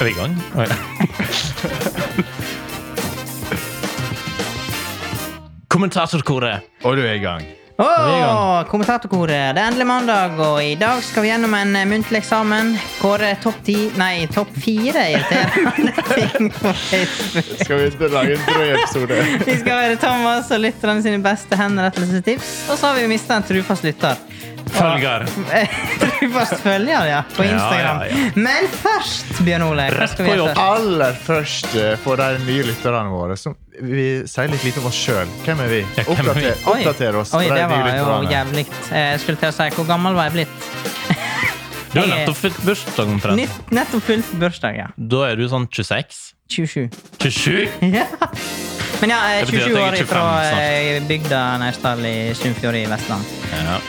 Er vi i gang? Kommentatorkoret. Og du er i gang. Vi er i Åh, kommentatorkoret. Det er endelig mandag, og i dag skal vi gjennom en eh, muntlig eksamen. Kåre topp ti Nei, topp fire irriterende ting på Facebook. Skal vi lage en drøyepisode? Vi skal høre Thomas og lytterne sine beste henrettelsestips. Og så har vi mista en trufast lytter. Følger. trufast følger, ja. På Ja, Instagram. ja, ja. Men først, Bjørn Ole, hva Rett skal vi på gjøre jobb. først? Aller først eh, for de nye lytterne våre. Som vi sier litt lite om oss sjøl. Hvem er vi? Ja, hvem er vi? Oppdater, Oi, oppdater oss. Oi, for de det nye var jo lytterne. jævlig. Eh, Jeg skulle til å si hvor gammel var jeg blitt? Du har nettopp fylt bursdag omtrent. Nytt, nettopp fylt bursdag, ja. Da er du sånn 26? 27. 27? Ja. Men ja, eh, Det betyr at jeg 27 er år 25 fra snart. eh, bygda Naustdal i Sunnfjord i Vestland. Ja.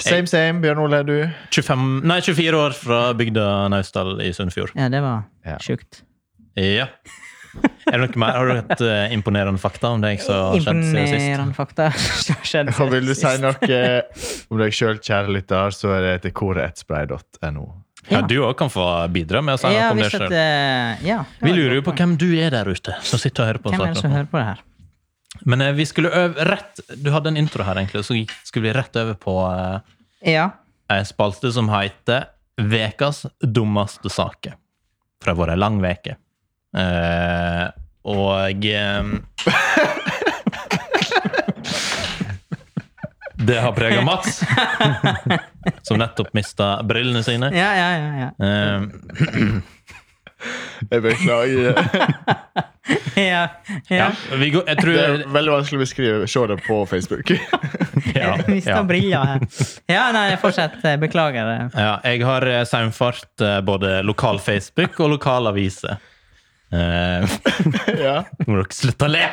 Same, same. Bjørn Ole, du? 25, nei, 24 år fra bygda Naustdal i Sunnfjord. Ja, det var Ja. sjukt. Ja. Er det noe mer? Har du hatt eh, imponerende fakta om deg som har skjedd siden sist? Imponerende fakta. som har skjedd Og vil du si sist. noe eh, om deg sjøl, kjære lytter, så er det til koret1spray.no. Ja, du òg kan få bidra med å si noe Ja, om det hvis at, sjøl. eh, ja, det Vi var et lurer jo godt på poeng. hvem du er der ute som sitter og hører på. Hvem er det som snakker. hører på det her? Men eh, vi skulle øve rett Du hadde en intro her, egentlig, og så gikk- skulle vi rett over på eh, Ja. ei spalte som heter Vekas dummeste saker. For det har vært ei lang veke. Eh, og eh, Det har prega Mats, som nettopp mista brillene sine. Ja, ja, ja, ja. Eh, Jeg beklager. ja, ja. ja, vi går, jeg tror Det er veldig vanskelig å beskrive. Se det på Facebook. ja, Jeg mistet ja. briller her. Ja, nei, fortsett. eh, Beklager det. Ja, jeg har eh, saumfart eh, både lokal Facebook og lokal avise. Eh, ja. nå må dere slutte å le!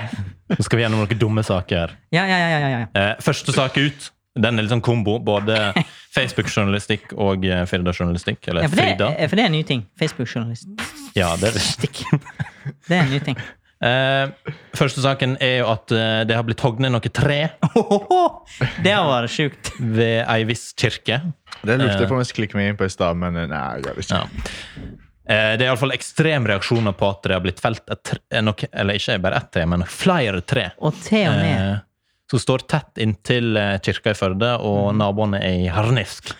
Nå skal vi gjennom noen dumme saker. Ja, ja, ja, ja, ja. ja. Eh, første sak ut. Den er litt sånn kombo. Både Facebook-journalistikk og eh, Firda-journalistikk. Eller Ja, for, det, Frida. eh, for det er en ny ting. Facebook-journalist. Ja, det er riktig. Det er en ny ting. Eh, første saken er jo at eh, det har blitt hogd ned noe tre Det var sjukt. ved ei viss kirke. Det lurte jeg på om jeg skulle klikke meg inn på i stad, men nei, jeg gjør det ikke. Ja. Eh, Det er iallfall ekstreme reaksjoner på at det har blitt felt et tre, eh, nok, eller ikke bare ett tre, men flere tre. Og til og med. Eh, Som står tett inntil eh, kirka i Førde, og Mm. naboene er i harnisk.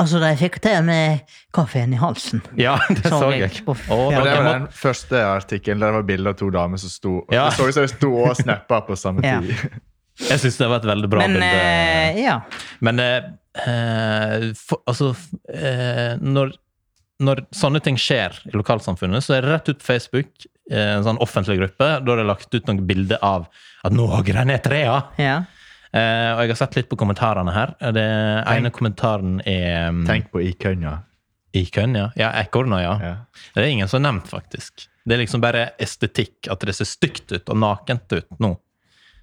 Altså, de fikk til og med kaffen i halsen. Ja, det Så så jeg jeg. på Og fjell. Men det noen var må- den første artikkelen der det var bilde av to damer som sto Ja. Mm. Det så ut som de sto og snappa på samme Ja. tid. Jeg syns det var et veldig bra Men bilde. eh, ja. Men eh, eh, for, altså eh, når, når sånne ting skjer i lokalsamfunnet, så er det rett ut Facebook, eh, en sånn offentlig gruppe, da er det lagt ut noen bilder av at nå hogger de ned trærne! ja. Eh, og jeg har sett litt på kommentarene her. Den ene kommentaren er mm, Tenk på ikønja. i kønn, ja. Ja, ekorna, ja. Ja. Det er ingen som har nevnt, faktisk. Det er liksom bare estetikk, at det ser stygt ut og nakent ut nå,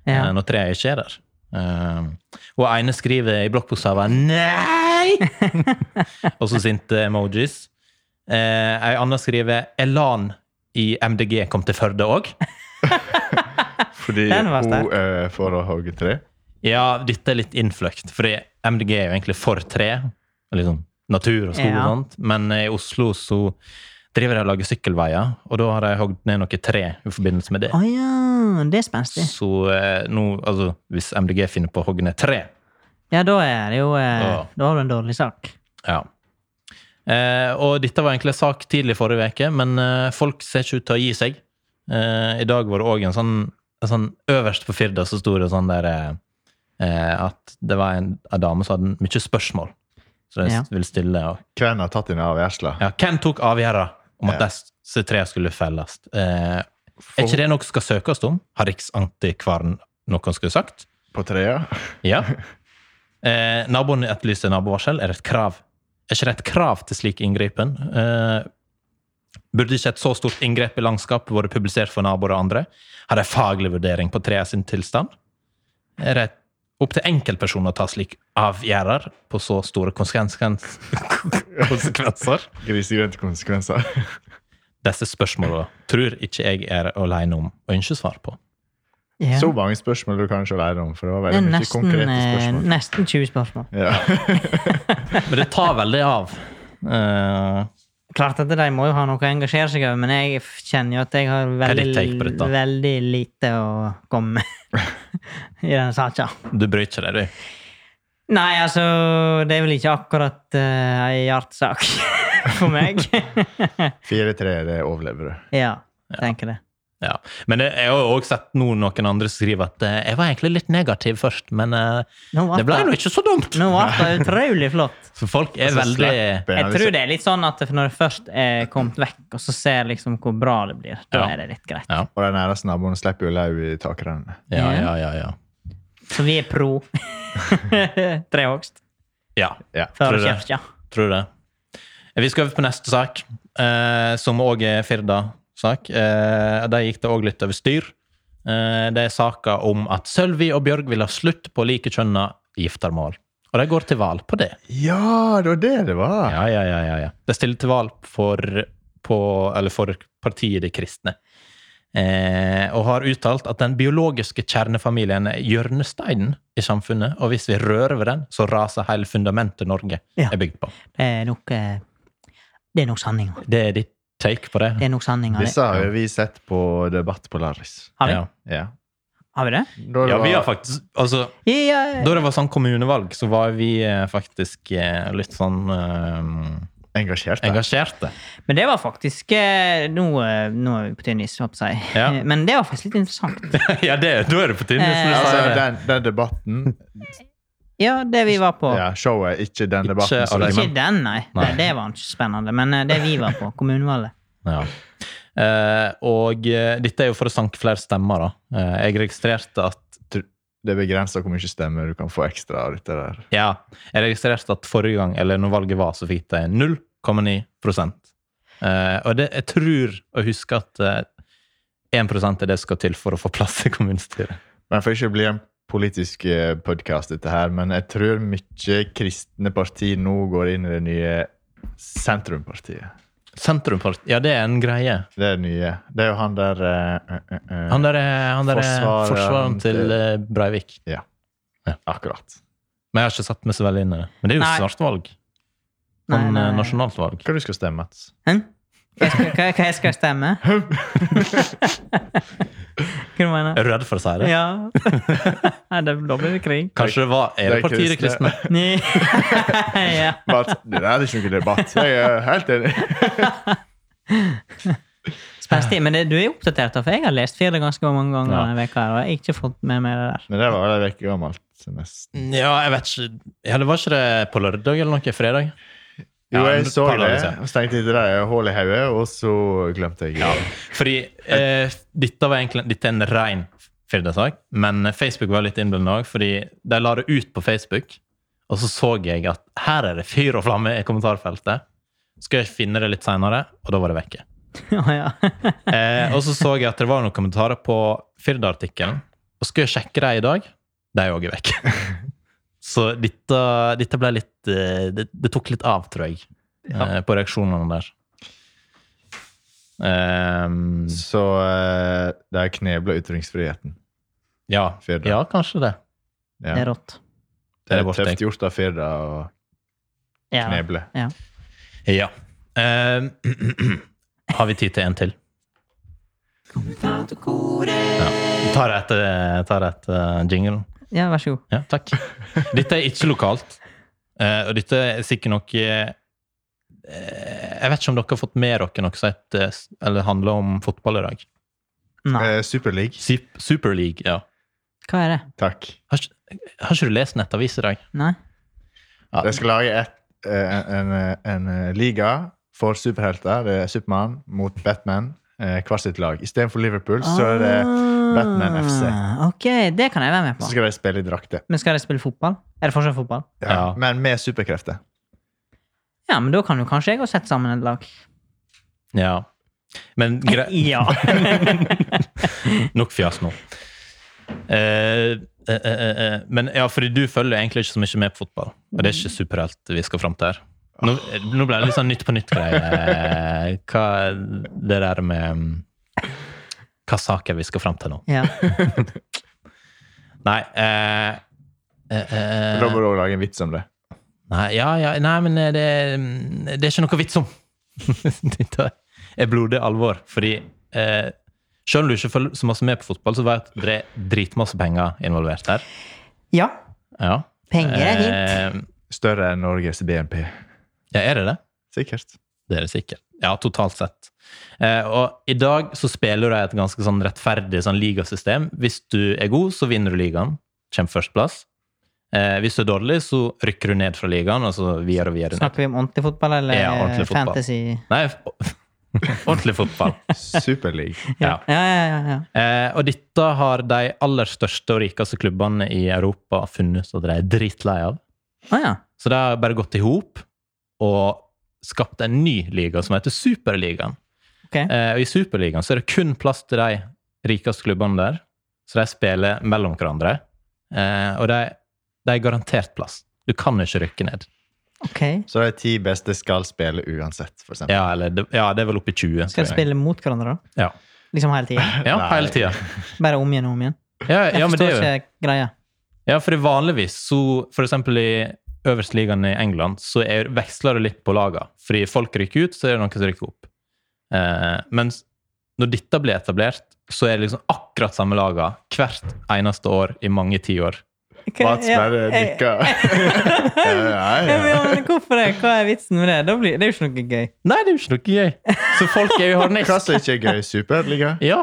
ja. eh, når treet ikke er der. Eh, og ene skriver i blokkbokstaver 'Nei!' og så sinte emojis. Uh, ei anna skriver 'Elan i MDG kom til Førde òg'. Fordi Den var hun sterk. eh, får å hogge tre. Ja, dette er litt innfløkt, fordi MDG er jo egentlig for tre. og Liksom natur og skog Ja. og sånt. Men i Oslo så driver de og lager sykkelveier, og da har de hogd ned noe tre i forbindelse med det. Å ja. Det er spenstig. Så eh, nå, altså, hvis MDG finner på å hogge ned tre Ja, da er det jo eh, Ja. Da har du en dårlig sak. ja. eh, Og dette var egentlig en sak tidlig forrige uke, men eh, folk ser ikke ut til å gi seg. Eh, I dag var det òg en sånn, en sånn Øverst på Firda så sto det sånn der eh, eh, at det var en, en dame som hadde mye spørsmål. Så de Ja. ville stille. Og, Hvem har tatt denne avgjørsla? ja, hvem tok avgjørelsen om at Ja. disse tre skulle felles? Eh, er ikke det noe som skal søkes om? Har Riksantikvaren noe han skulle sagt? På trea? Ja. Eh, naboen etterlyste nabovarsel. Er det et krav? Er ikke det et krav til slik inngripen? Eh, burde ikke et så stort inngrep i landskapet vært publisert for naboer og andre? Har de faglig vurdering på treet sin tilstand? Er det opp til enkeltpersoner å ta slik avgjørelser på så store konsekvens konsekvenser? Grisegrønne konsekvenser. Disse spørsmålene tror ikke jeg er alene om å ønske svar på. Ja. Så mange spørsmål du kanskje lærer om, for det var Det er veldig mye nesten, konkrete eh, spørsmål. nesten 20 spørsmål. Ja. Men det tar veldig av. Eh, klart at de må jo ha noe å engasjere seg over, men jeg f- kjenner jo at jeg har er ditt take på veldig, dette? veldig lite å komme med i den saka. Du bryr ikke deg, du. Nei, altså, det er vel ikke akkurat uh, ei hjertesak for meg. 4-3, det overlever du. ja, tenker det. Ja. Men jeg jeg har jo også sett noen, noen andre skrive at eh, jeg var egentlig litt negativ først, men eh, Nå ble det ble nå ikke så dumt. Nå ble det utrolig flott. For folk er Altså, veldig slipper en Jeg av tror disse- det er litt sånn at når det først er kommet vekk, og så ser liksom hvor bra det blir, da Ja. er det litt greit. ja. Og de nærmeste naboene slipper jo lau i takrennet. Ja, ja, ja, ja. Så vi er pro trehogst. ja. Ja. Tror Før du det? kirka. Tror du det? Vi skal over på neste sak, eh, som òg er Firda-sak. Eh, der gikk det òg litt over styr. Eh, det er saka om at Sølvi og Bjørg vil ha slutt på likekjønna giftermål. Og de går til valg på det. ja, det var det det var! Ah. Ja, ja, ja, ja, ja. De stiller til valg for, på, eller for partiet De kristne. Eh, og har uttalt at den biologiske kjernefamilien er hjørnesteinen i samfunnet. Og hvis vi rører ved den, så raser hele fundamentet Norge Ja. er bygd på. Det er nok eh, Det er nok sanninga. Det er ditt take på det. Det er nok sanninga. det. Disse har jo vi sett på Debatt på Larris. Har vi, Ja. Ja. har vi det? Da det ja, vi var- har faktisk altså, Ja, Da det var sånn kommunevalg, så var vi eh, faktisk eh, litt sånn eh, engasjert. da. engasjerte. Men det var faktisk eh, Nå, eh, nå er vi på tynn is, håper jeg. å si. Ja. Eh, Men det var faktisk litt interessant. ja, det, da er det på tynn is. når du Eh, Altså, sier det. den, den debatten Ja, det vi var på. ja, Showet, ikke den debatten. Ikke som- argument. Ikke den, nei. Nei. Det, det var ikke spennende. Men eh, det vi var på, kommunevalget. Ja. Eh, og eh, dette er jo for å sanke flere stemmer, da. Eh, jeg registrerte at det begrenser hvor mye stemmer du kan få ekstra av dette der. Ja, jeg registrerte at forrige gang, eller når valget var, så fikk de 0,9 Eh, Og det, jeg tror å huske at eh, 1 er det som skal til for å få plass i kommunestyret. Men får ikke bli en politisk podkast, dette her, men jeg tror mye kristne parti nå går inn i det nye sentrumpartiet. Sentrumpartiet, ja, det er en greie. Det er det nye. Det er jo han der eh, eh, eh, Han der er, han der er Forsvareren forsvareren til til- eh, Breivik. Akkurat. Men jeg har ikke satt meg så veldig inn i det. Men det er jo Nei. snart valg. Nei, Sånn eh, nei. nasjonalt valg. Hva du skal stemme, Mats? Hm? Hva jeg skal, hva, hva jeg skal stemme? Hva du mener Jeg er redd for å si det. Ja. Nei, det, da blir det krig. Kanskje det var Er det Det er partiet De kristne. kristne? Nei. ja. Mats, Det der er ikke noen debatt. Jeg er helt enig. Spenstig. Men det, du er oppdatert, da, for jeg har lest Firda ganske mange ganger Ja. denne veka, og jeg har ikke fått med meg det der. Men det var vel ei uke gammelt. nesten. Ja, jeg vet ikke. Ja, det var ikke det på lørdag eller noe? Fredag? Jo, Ja, jeg men så par det, dager siden. og så tenkte jeg det der er hull i hodet, og så glemte jeg det. Fordi eh, dette var egentlig dette er en ren Firda-sak, men Facebook var litt innblandende òg, fordi de la det ut på Facebook, og så så jeg at her er det fyr og flamme i kommentarfeltet. Skal jeg finne det litt seinere? Og da var det vekke. Å, ja. Eh, og så så jeg at det var noen kommentarer på Firda-artikkelen. Og skal jeg sjekke dem i dag? De er òg vekke. Så dette, dette ble litt eh, det, det tok litt av, tror jeg, eh, på reaksjonene der. Eh, Så eh, det er knebla ytringsfriheten. ja, Firda. ja, kanskje det. Ja. Det er rått. Det Det er er vårt tøft take. gjort av Firda å Ja. kneble. Ja. Eh, har vi tid til en til? Ja. Ta det etter, ta det etter jinglen. ja, vær så god. Ja, takk. Dette er ikke lokalt. Eh, og dette er sikkert noe eh, Jeg vet ikke om dere har fått med dere noe som heter, eh, s- eller handler om fotball i dag. Nei. Eh, Super League. Sup- Super League, ja. Hva er det? Takk. Har ikke, har ikke du lest Nettavis i dag? Nei? Ja. De skal lage et, eh, en, en, en eh, liga for superhelter. Det er Supermann mot Batman, eh, hvert sitt lag. Istedenfor Liverpool så er det Batman FC. Ah, Ok, det kan jeg være med Så på. skal de spille i drakter. Men skal de spille fotball? Er det fortsatt fotball? Ja. Men med superkrefter. Ja, men da kan jo kanskje jeg også sette sammen et lag. Ja. Men gre Ja. nok fjas nå. Eh, eh, eh, eh, men ja, fordi du følger egentlig ikke så mye med på fotball. Og det er ikke superhelt vi skal fram til her. Nå, nå ble det litt sånn Nytt på nytt-greie. Hva det der med mm, Hva saker vi skal fram til nå? ja. Nei eh, eh, eh, Da må du også lage en vits om det. Nei, ja, ja, nei men eh, det, mm, det er ikke noe vits om. Dette er blodig alvor. Fordi eh, selv om du ikke følger så masse med på fotball, så vet du at det er dritmasse penger involvert her. Ja. Ja. Penger er fint. Eh, Større enn Norges BNP. ja, er det det? Sikkert. Det er det sikkert. Ja, totalt sett. Eh, og i dag så spiller de et ganske sånn rettferdig sånn ligasystem. Hvis du er god, så vinner du ligaen. Kommer førsteplass. Eh, hvis du er dårlig, så rykker du ned fra ligaen. og så videre og videre ned. Snakker vi om ordentlig fotball eller Ja, ordentlig fotball. fantasy? Nei, f- ordentlig fotball. Superleague. Ja. Ja, ja, ja, ja. Eh, og dette har de aller største og rikeste klubbene i Europa funnet ut at de er dritlei av. Å ja. Så det har bare gått i hop og skapt en ny liga som heter Superligaen. Ok. Eh, og I Superligaen så er det kun plass til de rikeste klubbene der, så de spiller mellom hverandre. Eh, og de, de er garantert plass. Du kan ikke rykke ned. Ok. Så de ti beste skal spille uansett, for eksempel. Ja, eller, det- ja det er vel oppe i 20. Skal de tror jeg. spille mot hverandre, da? Ja, Liksom hele tiden? ja Nei. hele tida. Bare om igjen og om igjen? Ja, Jeg ja, men det forstår er jo ikke greia. Ja, for vanligvis så For eksempel i øverste ligaen i England så er, veksler det litt på laga. Fordi folk rykker ut, så er det noen som rykker opp. Eh, mens når dette blir etablert, så er det liksom akkurat samme laga hvert eneste år i mange tiår. Ok, Mats ja, bare jeg- nikker. Ja, ja, Ja, men- ja. ja, men hvorfor det? Hva er vitsen med det? Da blir, det er jo ikke noe gøy. Nei, det er jo ikke noe gøy! Så folk er jo Hva harnisk. som ikke er gøy? Superliga? Ja,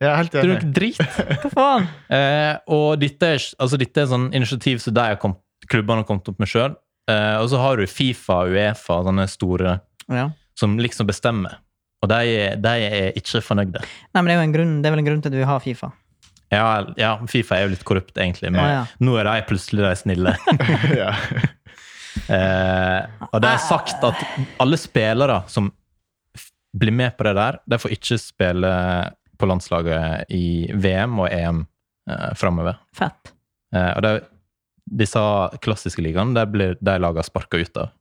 Jeg er helt det er jo enig. noe drit. Hva faen? Eh, og dette er, altså, dette er sånn initiativ som de har kommet- klubbene har kommet opp med sjøl. Eh, og så har du Fifa, Uefa, sånne store Ja. som liksom bestemmer. Og de, de er ikke fornøyde. Nei, men det er, jo en grunn, det er vel en grunn til at vi har Fifa. Ja, ja, Fifa er jo litt korrupt, egentlig, men Ja, ja. nå er de plutselig de snille. Ja. eh, og de har sagt at alle spillere som f- blir med på det der, de får ikke spille på landslaget i VM og EM eh, framover. Fett. Eh, og det, disse klassiske ligaene, de blir de laga sparka ut av.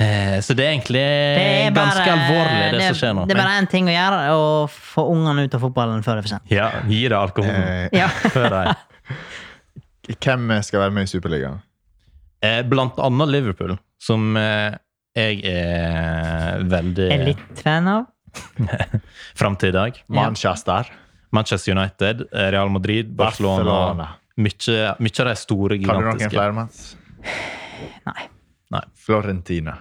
Eh, så det er egentlig Det er bare- ganske alvorlig, det, som skjer nå. Det er bare én ting å gjøre, å få ungene ut av fotballen før det er for sent. Ja, gi deg alkoholen Eh, Ja. før de Hvem skal være med i Superligaen? Eh, Blant annet Liverpool, som eh, jeg er veldig Er litt fan av. fram til i dag. Manchester? Manchester United, eh, Real Madrid, Barcelona. Barcelona. Mye mye av de store, Kan du noen gigantiske. flere, Mats? Nei. Nei. Florentina.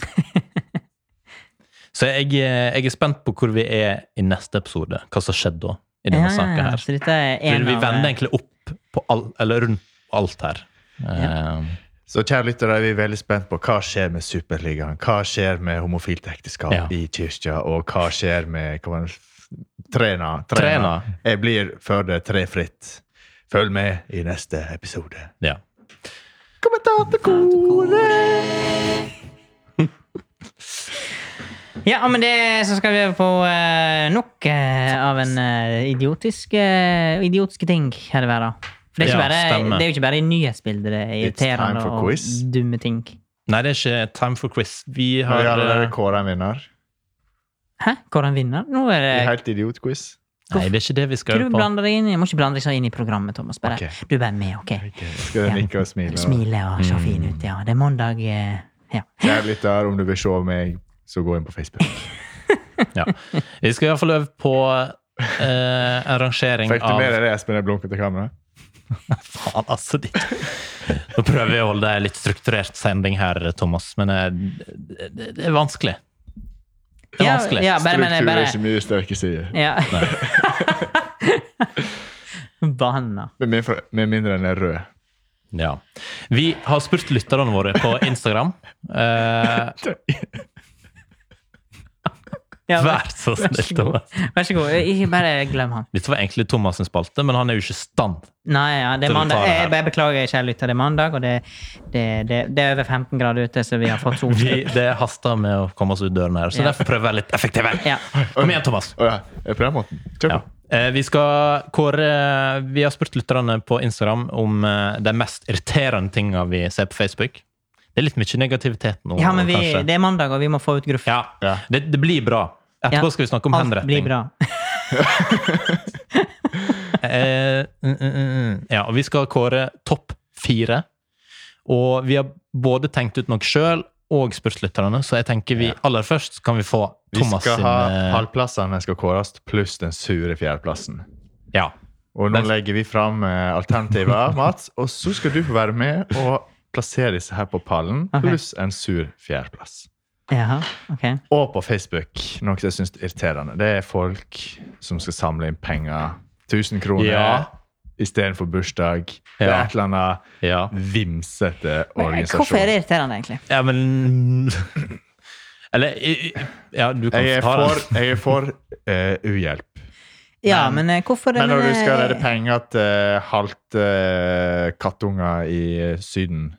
Så jeg, eh, jeg er spent på hvor vi er i neste episode. Hva som skjedde da, i denne saken her. Så dette er en Fordi vi av- eh, vender egentlig opp på all, eller rundt alt her. Eh, Så kjære lyttere, vi er veldig spent på hva skjer med Superligaen. Hva skjer med homofilt ekteskap Ja. i kirka, og hva skjer med hva var det? Trena. Trena. Jeg blir for det trefritt. Følg med i neste episode. ja. eh, Ja, men det så skal vi over på eh, nok eh, av en eh, idiotisk eh, idiotiske ting her i verden. For det er, ikke Ja, bare, stemmer. det er jo ikke bare i nyhetsbildet det er It's time irriterende for og quiz. dumme ting. Nei, det er ikke time for quiz. Vi Har har vi eh, allerede kåra en vinner? Hæ? Hvordan vinner? Nå er det I Helt idiot-quiz? Nei, det er ikke det vi skal Hva du øve på. blander deg inn i? Du må ikke blande deg sånn inn i programmet, Thomas. Bare. Ok. Du er bare med, OK? Skal jeg nikke og smile? og- Smile og se fin Mm. ut, ja. Det er mandag. eh, Ja. Kjære lytter, om du vil se meg, så gå inn på Facebook. Ja. Vi skal iallfall øve på eh, en rangering Fikk du med av deg det, Espen? Jeg blunket til kamera? Faen, altså. ditt. Nå prøver jeg å holde en litt strukturert sending her, Thomas, men eh, det, det, det er vanskelig. Det er ja, vanskelig. ja, bare, men, Struktur er bare, ikke mye sterke sider. ja. Banna. Med mindre- Med mindre enn er rød. Ja. Vi har spurt lytterne våre på Instagram. Eh, Ja, vær, vær så snill, Thomas. vær så god. Ikke bare glem han. Dette var egentlig Thomas' sin spalte, men han er jo ikke i stand. Nei, ja, det Så vi er tar mandag. det her. Jeg bare beklager, kjære lytter, det er mandag, og det, det, det, det er over 15 grader ute, så vi har fått sol. Vi, det haster med å komme oss ut døren her, så Ja. derfor prøver jeg litt effektivere. Ja. Kom igjen, Thomas. Å ja, er det på den måten? Kjør Ja. på. Eh, vi skal kåre eh, Vi har spurt lytterne på Instagram om eh, de mest irriterende tinga vi ser på Facebook. Det er litt mye negativitet nå, ja, men vi, kanskje. det er mandag, og vi må få ut gruff. Ja, Ja. det, det blir bra. Etterpå Ja. skal vi snakke om Alt blir henretting. bra. Eh, mm, mm, mm. ja, og vi skal kåre topp fire. Og vi har både tenkt ut noe sjøl, og spurtlytterne, så jeg tenker vi Ja. aller først kan vi få Vi Thomas skal sin ha eh, halvplassene skal kåres, pluss den sure fjerdeplassen. Ja. Og nå Den- legger vi fram eh, alternativer, Mats, og så skal du få være med og plassere disse her på pallen, Ok. pluss en sur fjerdeplass. Jaha, ok. Og på Facebook, noe som jeg syns er irriterende. Det er folk som skal samle inn penger. 1000 kroner Ja. istedenfor bursdag. Det Ja. eh, er et eller annet ja. vimsete organisasjon. eh, Hvorfor er det irriterende, egentlig? Ja, men Eller i- i- Ja, du kan Jeg er ta for, den. jeg er for eh, uhjelp. Ja, men eh, hvorfor Men når du skal redde eh, penger til eh, halte eh, kattunger i eh, Syden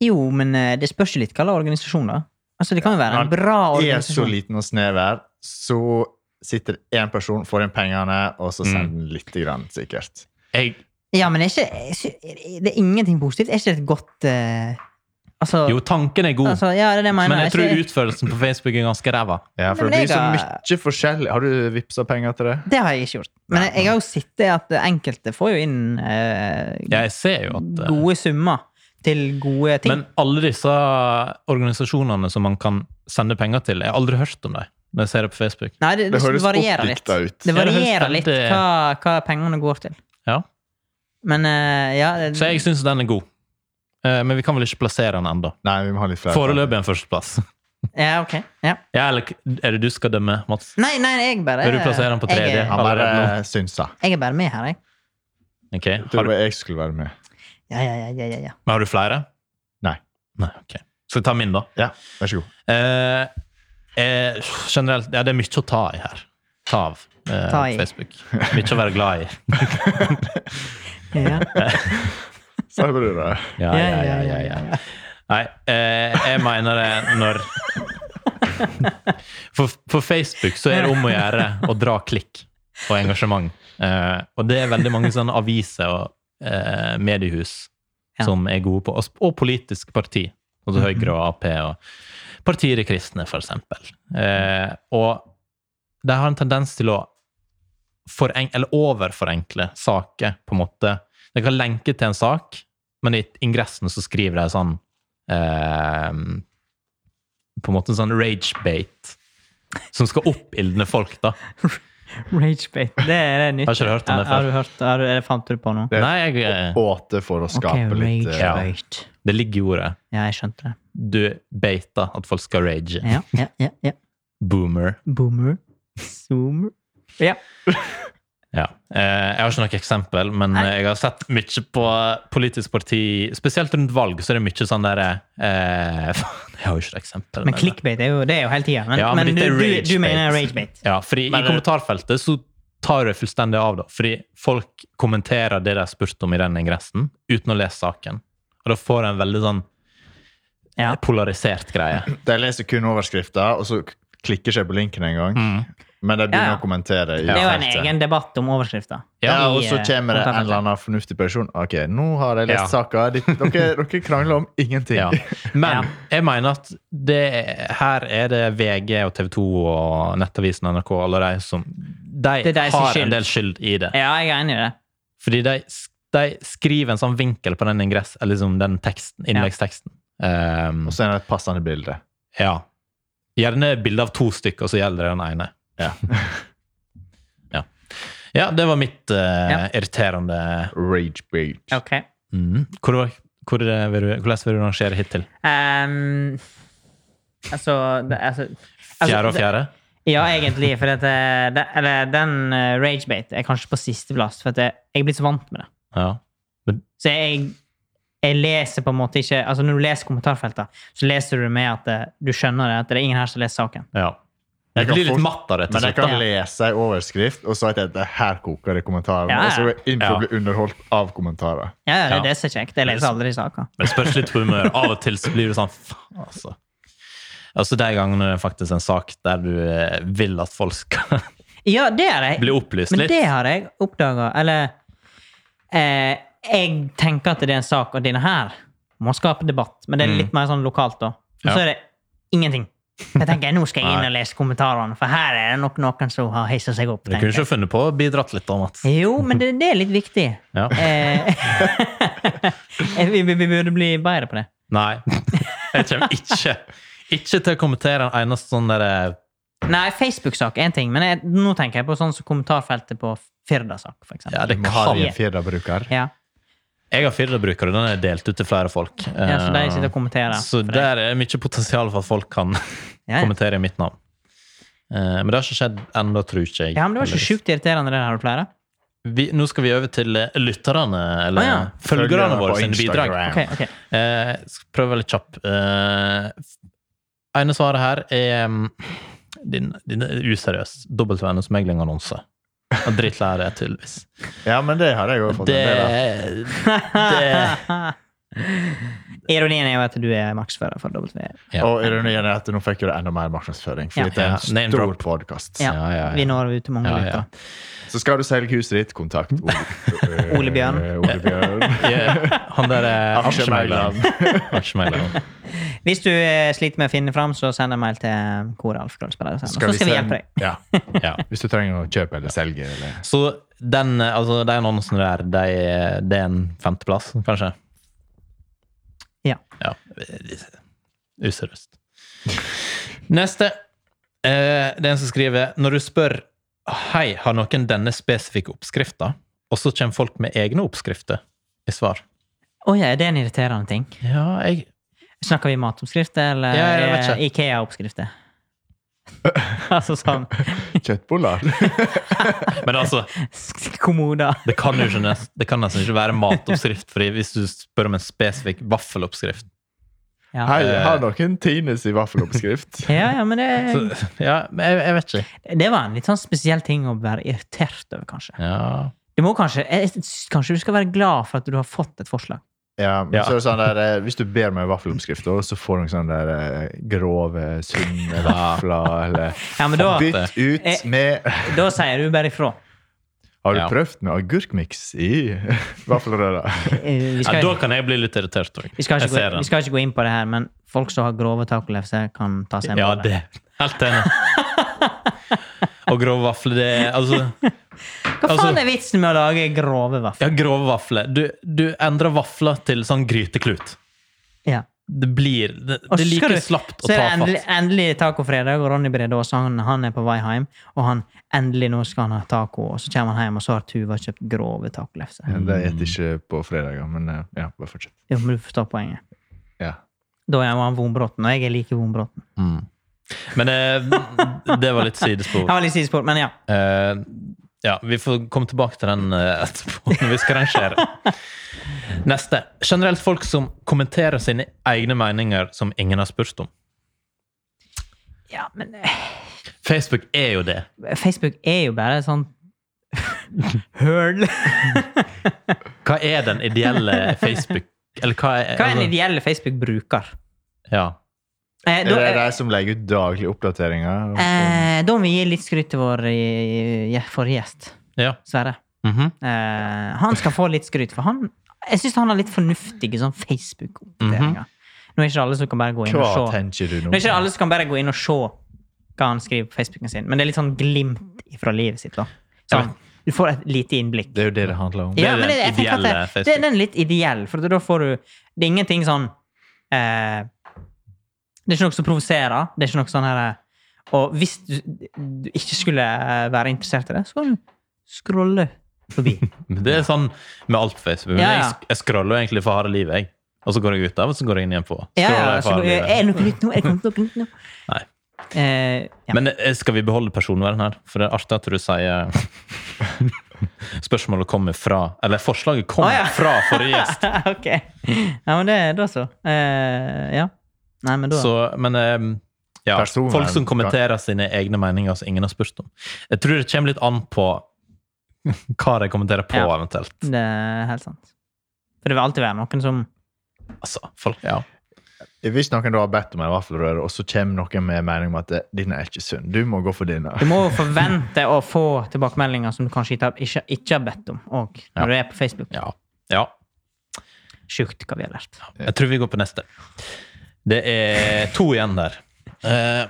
Jo, men eh, det spørs jo litt hva slags organisasjon, da. Altså, det kan jo være en Men bra er så organisasjon. liten og snever, så sitter én person, får inn pengene, og så sender den lite grann, sikkert. Jeg, Ja, men er ikke, jeg sy- det er ingenting positivt. Er ikke det et godt eh, Altså jo, tanken er god, Altså, ja, det er det jeg mener. men jeg tror Ikke- utførelsen på Facebook er ganske ræva. Ja, for Nei, men det blir så jeg har- mye forskjellig. Har du vippsa penger til det? Det har jeg ikke gjort. Men Nei. jeg, jeg har jo sett det at enkelte får jo inn eh, Jeg ser jo at eh, gode summer til gode ting. Men alle disse organisasjonene som man kan sende penger til, jeg har aldri hørt om dem når jeg ser det på Facebook. Nei, det, det, Det høres varierer litt. oppdikta ut. Det Ja, det høres varierer litt veldig- hva, hva pengene går til. Ja. Men eh, ja det, Så jeg syns den er god. Eh, Men vi kan vel ikke plassere den ennå. Nei, vi må ha litt flere. Foreløpig en førsteplass. Ja, ok. Ja. Ja, eller er det du skal dømme, Mats? Nei, nei, jeg bare Vil du plassere den på Jeg, tredje? er- Han bare Allerede synsa. jeg er bare med her, jeg. Ok. Har Tror du, du jeg skulle være med? Ja, ja, ja. ja, ja, ja. men har du flere? Nei. Nei, ok. Skal jeg ta min, da? Ja, vær så god. Eh, eh, generelt, ja, det er mye å ta i her. Ta av eh, Ta i. Facebook. Mye å være glad i. ja, ja. Sa du det? Ja, ja, ja, ja, ja. Nei, eh, jeg mener det når for, for Facebook så er det om å gjøre å dra klikk og engasjement. Eh, og det er veldig mange sånne aviser og eh, mediehus Ja. som er gode på Og, sp- og politiske parti. Altså Høyre og Ap og partier i kristne, for eksempel. Eh, og de har en tendens til å foreng eller overforenkle saker, på en måte. De kan lenke til en sak, men i ingressen så skriver de sånn eh, På en måte en sånn rage-bait som skal oppildne folk, da. Ragebait. Det er det nytt. Har ikke du hørt om det Har- Har før? du hørt, har du, er det fant du på nå? Det- Nei, jeg, eh, Åte for å skape litt eh, Ja. ragebait. det ligger i ordet. Ja, jeg skjønte det. Du beiter at folk skal rage. Ja, ja, ja, ja. Boomer. Boomer. Zoomer. Ja. Ja. Eh, Jeg har ikke noe eksempel, men Nei. eh, jeg har sett mye på politisk parti Spesielt rundt valg så er det mye sånn derre eh, Faen, jeg har jo ikke noe eksempel. Men clickbait er jo, det er jo hele tida. Men, Ja, men men, dette er du, du, du ragebait. mener ragebait. Ja, fordi Men i det- kommentarfeltet så tar det fullstendig av, da. Fordi folk kommenterer det de har spurt om i den ingressen, uten å lese saken. Og da får jeg en veldig sånn Ja. Mm, polarisert greie. De leser kun overskrifter, og så k- klikker ikke på linken engang. Mm. Men de Ja, begynner ja. å kommentere. i Det er jo en feltet. egen debatt om overskrifter. Ja, i, og så eh, kommer det en kommentarfeltet. eller annen fornuftig person. Ok, nå har jeg Ja. lest saka. De- Dere, dere krangler om ingenting. Ja. Men jeg mener at det, her er det VG og TV 2 og Nettavisen og NRK alle de som De, Det er de som har skyld. en del skyld i det. Ja, jeg er enig i det. Fordi de, de skriver en sånn vinkel på den ingress, eller liksom den teksten, innleggsteksten. Um, Og så er det et passende bilde. ja. Gjerne bilde av to stykker, og så gjelder det den ene. Ja. ja. ja, det var mitt eh, Ja. irriterende Rage bait. Ok. mm. hvor, var- hvor, eh, vil du, Hvordan vil du rangere hittil? Ehm, altså, det, altså Fjerde og det- fjerde? Ja, egentlig. For at det, det, eller, den eh, ragebait er kanskje på sisteplass, for at jeg, jeg er blitt så vant med det. Ja. Så jeg, jeg leser på en måte ikke altså Når du leser kommentarfelter, så leser du med at eh, du skjønner det, at det er ingen her som leser saken. ja. Jeg Jeg kan blir fort- litt matt av det. til Men jeg slutt, da. kan lese en overskrift, og så er det at det her koker det i kommentarene. Ja, ja. Og så går jeg inn for Ja. å bli underholdt av kommentarer. Ja, ja, det, Ja. det er så kjekt. Jeg leser aldri saker. Men det spørs litt på humør. Av og til så blir du sånn faen, altså. Altså De gangene det er faktisk en sak der du eh, vil at folk skal Ja, det er jeg. bli opplyst Men litt. det har jeg oppdaga. Eller eh, Jeg tenker at det er en sak, og denne her må skape debatt. Men det er litt mer sånn lokalt, da. Og Mm. Ja. så er det ingenting. Jeg tenker, Nå skal jeg Nei. inn og lese kommentarene, for her er det nok noen som har hissa seg opp. Du kunne tenker jeg. ikke funnet på å bidratt litt da, Mats. Jo, men det, det er litt viktig. Ja. Eh, vi, vi, vi burde bli bedre på det. Nei. Jeg kommer ikke ikke til å kommentere en eneste sånn derre Nei, Facebook-sak er en ting, men jeg, nå tenker jeg på sånn som kommentarfeltet på Firda-sak, for eksempel. Ja, det Må ha kan en Firda-bruker. Ja. Jeg har Firda-bruker, og den er delt ut til flere folk. ja, så de sitter og kommenterer. Eh, Så for deg. der er mye potensial for at folk kan ja, ja. kommentere i mitt navn. Eh, Men det har ikke skjedd ennå, tror ikke jeg. ja, men det var så heldigvis. sjukt irriterende, det der har du flere. Vi, nå skal vi over til eh, lytterne, eller Å, ja. følgerne våre, på sine bidrag. Instagram. Ok, ok. Eh, jeg skal prøve veldig kjapp. Eh, ene svaret her er mm, din, din er useriøs dobbeltvennomsmeglingannonse. Drittlei av det, tydeligvis. Ja, men det har jeg jo fått Det, en del av. Ironien er jo at du er maksfører for W. ja. Og ironien er at nå fikk jo det enda mer markedsføring, Ja. fordi det er en Ja, name stor drop. podkast. Ja, Ja, ja, ja. Vi når ut til mange Ja, ja. lyttere. Så skal du selge huset ditt, kontakt Ole, Ole Bjørn. Eh, Ole Bjørn. Ja, Han der eh, Aksjemegleren. aksjemegleren. Aksjemegleren. Hvis du eh, sliter med å finne fram, så send en mail til Koralf. Krøllsberg, Så skal vi sende- hjelpe deg. Ja. Ja. Hvis du trenger å kjøpe eller selge eller Så den, eh, altså, de annonsene der, de, det er en femteplass, kanskje? Ja. Ja. Useriøst. Neste. Eh, det er en som skriver Når du spør Hei, har noen denne spesifikke oppskrifta? Og så kommer folk med egne oppskrifter i svar. Å ja, er det en irriterende ting? Ja, jeg Snakker vi matoppskrifter, eller Ja, jeg vet eh, ikke. Ikea-oppskrifter? altså sånn kjøttboller. Men altså, kommoder. det kan jo ikke, nes- det kan nesten ikke være matoppskrift, fordi hvis du spør om en spesifikk vaffeloppskrift Ja. Hei, har noen Tines i vaffeloppskrift? ja, ja, men det, så, Ja, men jeg, jeg vet ikke. det var en litt sånn spesiell ting å være irritert over, kanskje. Ja. Du må kanskje, jeg synes kanskje du skal være glad for at du har fått et forslag. Ja, men Ja. så er det sånn der, eh, Hvis du ber meg vaffeloppskrift, da, så får du sånne der eh, grove, sunne vafler eller Ja, men da, Bytt ut Eh. med da sier du bare ifra. Har du Ja. prøvd med agurkmiks i vaffelrøra? Eh, Vi Ja, skal, da kan jeg bli litt irritert òg. vi, skal Jeg ikke ser gå, vi den. skal ikke gå inn på det her, men folk som har grove tacolefser, kan ta seg en Ja, bolle. det. Helt enig. Og grove vafler, det er altså Hva faen altså- er vitsen med å lage grove vafler? Ja, grove vafler. Du, du endrer vafler til sånn gryteklut. Ja. Det blir Det, Og det er så like skal du- slapt og Så er det endelig, tafatt. endelig tacofredag, og Ronny Bredås han, han er på vei hjem. Og han, endelig nå skal han ha taco, og så kommer han hjem, og så har Tuva kjøpt grove tacolefser. Mm. Ja, Det spiser jeg ikke på fredager, men eh, ja, bare fortsett. Jo, men du forstår poenget. Ja. Da er han vonbrotten, og jeg er like vonbrotten. Mm. Men eh, det var litt Han sidespor. var litt sidespor, men ja. Eh, ja, vi får komme tilbake til den eh, etterpå, når vi skal rangere. Neste. Generelt folk som kommenterer sine egne meninger som ingen har spurt om. ja men eh, Facebook er jo det. Facebook er jo bare et sånt høl. Hva er den ideelle Facebook Eller hva er, altså, Hva er Altså- en ideell Facebook-bruker? Ja. Eh, Er da, det eh, de som legger ut daglige oppdateringer? eh, da må vi gi litt skryt til vår eh, forrige gjest, ja. Sverre. Mhm. Eh, han skal få litt skryt, for han jeg syns han har litt fornuftige sånn Facebook-oppdateringer. Nå er ikke alle som kan bare gå inn Mhm. Hva og se tenker du nå? Nå er ikke alle som kan bare gå inn og se hva han skriver på Facebooken sin, men det er litt sånn glimt fra livet sitt. da. Jeg Sånn, du får et lite innblikk. Det er jo det det handler om. er Ja, men den det, jeg tenker at ideelle det, Facebook. det, den er litt ideell, for da får du Det er ingenting sånn eh, Det er ikke noe som provoserer. Det er ikke noe sånn her eh, Og hvis du, du ikke skulle eh, være interessert i det, så kan du scrolle forbi. Men Det er sånn med alt Facebook. Men Ja, ja. Jeg, jeg scroller jo egentlig for harde livet, jeg. Og så går jeg ut av, og så går jeg inn igjen på. Ja, ja, Scroller jeg for så, harde eh, livet. er det noe nytt nå? Er det kommet noe nytt nå? Nei. Eh, ja. Men eh, skal vi beholde personvern her? For det er artig at du sier Spørsmålet kommer fra Eller forslaget kom Å, ja. fra forrige gjest. ok. Ja, men det da så. Eh, ja. Nei, men da Så, men eh, ja, Personvern folk som kan- kommenterer sine egne meninger som ingen har spurt om. Jeg tror det kommer litt an på hva de kommenterer på, Ja. eventuelt. Det er helt sant. For det vil alltid være noen som Altså, folk, ja. Hvis noen da har bedt om en vaffelrøre, og så kommer noen med mening om at eh, dine er ikke sunn, du må gå for dine. Du må jo forvente å få tilbakemeldinger som du kanskje ikke, har- ikke, ikke har bedt om. Og Ja. når du er på Facebook. ja. ja. Sjukt hva vi har lært. Jeg tror vi går på neste. Det er to igjen der. Eh,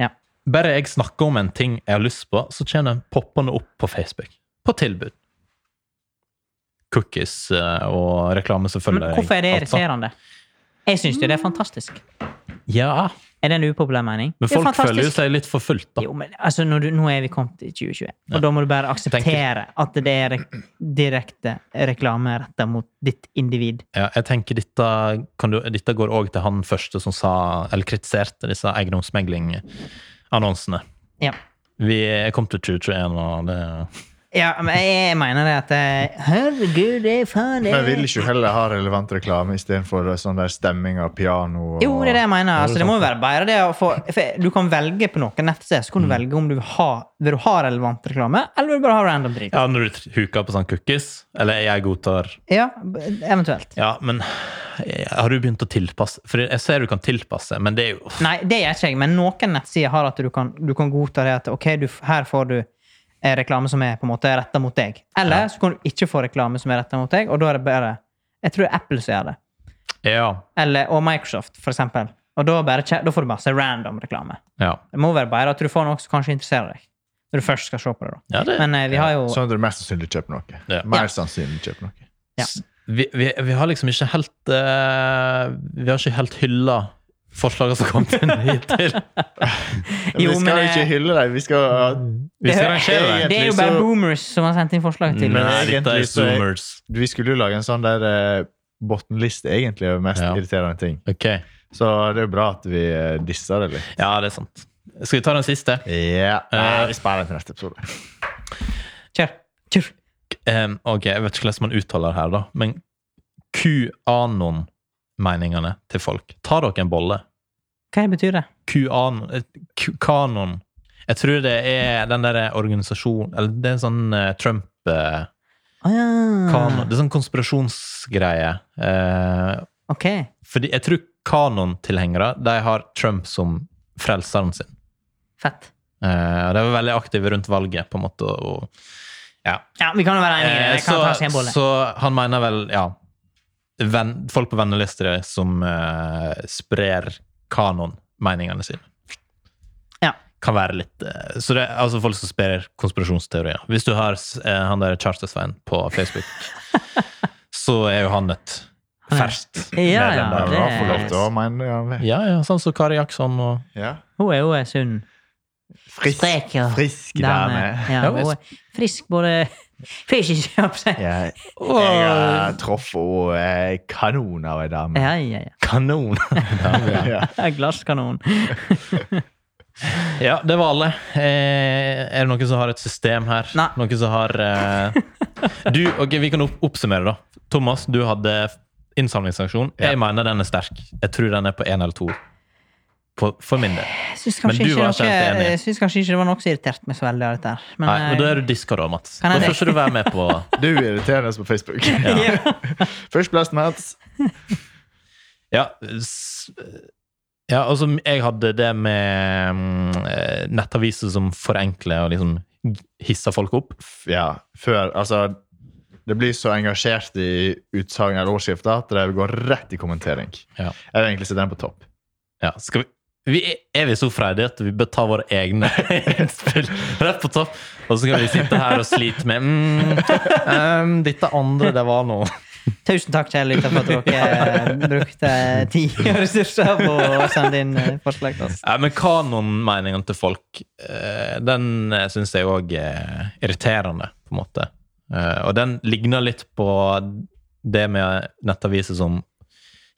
Ja. Bare jeg snakker om en ting jeg har lyst på, så kommer den poppende opp på Facebook. På tilbud. Cookies eh, og reklame, Men selvfølgelig. hvorfor er det irriterende? Jeg syns jo det er fantastisk. Ja, Er det en upopulær mening? men Det er folk føler jo fantastisk. seg litt forfulgt, da. Jo, men altså, når du, nå er vi kommet til 2021, og Ja. da må du bare akseptere at det er re direkte reklame retta mot ditt individ. Ja, jeg tenker dette, kan du, dette går òg til han første som sa, eller kritiserte disse eiendomsmeglingannonsene. Ja. Vi er kommet til 2021, og det Ja, men jeg, jeg mener det at eh, Herregud, det er faen det Men er- vil ikke heller ha relevant reklame istedenfor sånn der stemming av piano? Og, Jo, det er det jeg mener. Ja, det er Altså, det må jo være bedre det å få for Du kan velge på noen nettsider så kan du Mm. velge om du vil ha, vil du ha relevant reklame, eller vil du bare ha random drit. Ja, når du huker på sånn cookies, eller jeg godtar Ja, b- eventuelt. Ja, men eh, har du begynt å tilpasse For jeg ser du kan tilpasse, men det er jo Nei, det gjør ikke jeg, men noen nettsider har at du kan, du kan godta det at ok, du, her får du eh, reklame som er på en måte retta mot deg. Eller Ja. så kan du ikke få reklame som er retta mot deg, og da er det bare Jeg tror det er Apple som gjør det. Ja. Eller, og Microsoft, for eksempel. Og da, bare, kje- da får du masse random reklame. Ja, Det må være bare at du får noe som kanskje interesserer deg. Når du først skal se på det, da. ja det Men eh, vi har jo Sånn at du mest sannsynlig kjøper noe. Ja. Mer Ja. sannsynlig kjøper noe. Ja. vi, vi, vi har liksom ikke helt eh, Vi har ikke helt hylla forslagene som kom til hittil. Men Jo, vi skal men, jo eh, ikke hylle dem. Vi skal Vi skal rangere det. det. Det er jo Egentlig bare så- boomers som har sendt inn forslag til Men Nei, oss. dette egentlig er så er- zoomers. Vi skulle jo lage en sånn der eh, bottenliste, egentlig, over mest Ja. irriterende ting. Ok. Så det er jo bra at vi eh, disser det litt. Eh, Ja, det er sant. Skal vi ta den siste? Ja. Nei, vi sparer den til neste episode. Kjør. Kjør. Em, ok, Jeg vet ikke hvordan man uttaler det her, da. Men QAnon-meningene til folk. Ta dere en bolle. Hva det betyr det? QAnon eh, Q- Kanon. Jeg tror det er den der organisasjonen Eller det er en sånn eh, Trump eh, Å ja. Mm. kanon. Det er sånn konspirasjonsgreie. Eh, Ok. fordi jeg tror kanon-tilhengere de har Trump som frelseren sin. Fett. Eh, og de var veldig aktive rundt valget, på en måte. Og, ja. Ja, vi kan jo være enige. i det. Jeg kan ta seg en Eh, så, bolle. så han mener vel, ja venn, Folk på vennelister som eh, sprer kanon-meningene sine. Ja. Kan være litt eh, Så det er altså folk som sprer konspirasjonsteorier. Hvis du har eh, han der Charter-Svein på Facebook, så er jo han et ferskt Ja, ja, medlem Ja, der. det... får lov det- til å mene det. han vil. Ja, ja, sånn som Kari Jackson og Ja. Hun er jo en sunn Frisk, Sprek, ja. frisk dame. dame. Ja, Ja, hun er frisk både Frisk, ja, på seg. Jeg, jeg har truffet henne eh, kanon av ei dame. Ja, ja, ja. Kanon! Ja. Glasskanon. Ja, det var alle. Eh, er det noen som har et system her? Nei. Noen som har eh, Du, ok, Vi kan opp oppsummere, da. Thomas, du hadde innsamlingsaksjon. Jeg mener den er sterk. Jeg tror den er på én eller to. På, for min del. Jeg syns Men kanskje, du ikke var noe- ikke helt enig. jeg syns kanskje ikke det var noe som irriterte meg så veldig av dette her. Men, Nei, men Da eh, er du diska, da, Mats. Kan Da jeg får det? ikke du være med på Du irriterer oss på Facebook. Førsteplass, Mats. Ja, s- ja og som jeg hadde det med mm, eh, nettaviser som forenkler og liksom hisser folk opp. Ja, før Altså, det blir så engasjert i utsagn eller overskrifter at det går rett i kommentering. Ja. Jeg vil egentlig sette den på topp. Ja, skal vi, vi er- er vi så freidige at vi bør ta våre egne innspill rett på topp? Og så kan vi sitte her og slite med mm, ehm, Dette andre, det var noe. eh, Tusen takk, Kjell, lytter, for at dere eh, brukte tid og ressurser på å sende inn eh, forslag til oss. Ja, men kanonmeningene til folk, eh, den syns jeg òg er irriterende, på en måte. Eh, Og den ligner litt på det med nettaviser som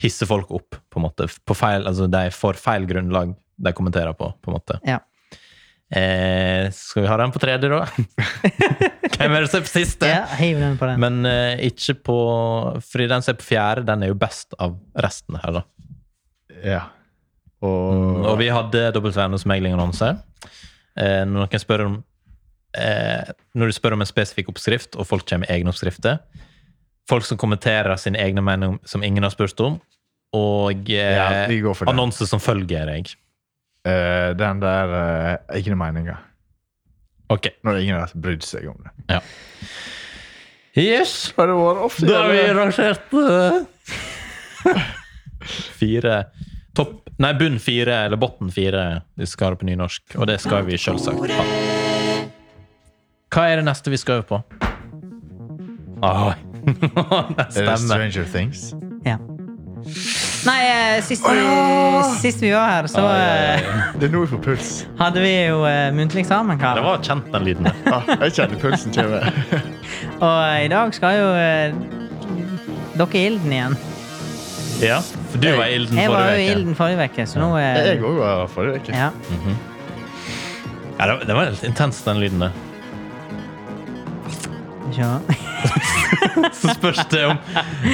hisser folk opp, på en måte. På feil, altså de får feil grunnlag de kommenterer på, på en måte. Ja. Eh, skal vi ha den på tredje, da? Hvem er det som er på siste? Ja, hiv den på den. Men eh, ikke på Fordi den som er på fjerde, den er jo best av resten her, da. Ja. Og, Og vi hadde dobbeltvernosmeglingannonse. Eh, når noen spør om eh, Når du spør om en spesifikk oppskrift, og folk kommer med egne oppskrifter Folk som kommenterer sine egne meninger som ingen har spurt om, og eh, Ja, vi går for det. annonser som følger deg. eh, den der eh, Ikke noe meninger. Ok. Når ingen har brydd seg om det. Yes! Har det vært ofte? Da har vi rangert eh, Fire Topp, nei, bunn fire, eller botten fire Vi skal ha det på nynorsk Og det skal vi selvsagt ha Hva er det neste vi skal øve på? Ah, det Er det stemmer Stranger Things? Ja. Nei, eh, sist vi, sist vi var her, så eh, Det er nå vi får puls. hadde vi jo eh, muntlig eksamen, Karl. Det var kjent, den lyden der. Ah, jeg kjenner pulsen kommer. Og eh, i dag skal jo eh, dere i ilden igjen. Ja, for du var i ilden Jeg var jo i forrige uke. ilden forrige uke, så nå eh, Jeg òg var forrige uke. ja. Ja, det var- det var helt intens, den lyden der. Ja. Så spørs det om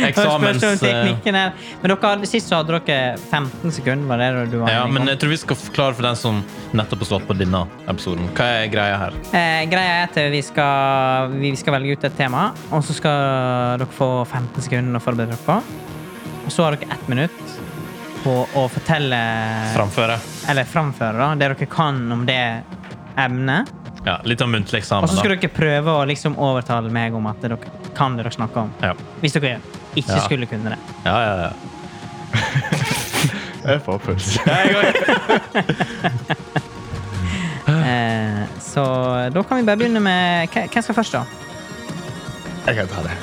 Eksamens eksamens eh, teknikken her. Men dere, hadde- Sist så hadde dere 15 sekunder, var det du var Ja, enig om? men jeg tror vi skal forklare for den som nettopp har slått på denne episoden. Hva er greia her? Eh, greia er at vi skal, vi skal velge ut et tema, og så skal dere få 15 sekunder å forberede dere på. Og så har dere ett minutt på å fortelle Framføre. Eller framføre da, det dere kan om det emnet. Ja, litt om muntlig Og så eksamen. skal Da. dere prøve å liksom overtale meg om at dere kan det dere snakker om. Ja. Hvis dere ikke Ja. skulle kunne det. Ja, ja, ja. Jeg får puls. Eh, så da kan vi bare begynne med Hva- Hvem skal først, da? Jeg kan ta det.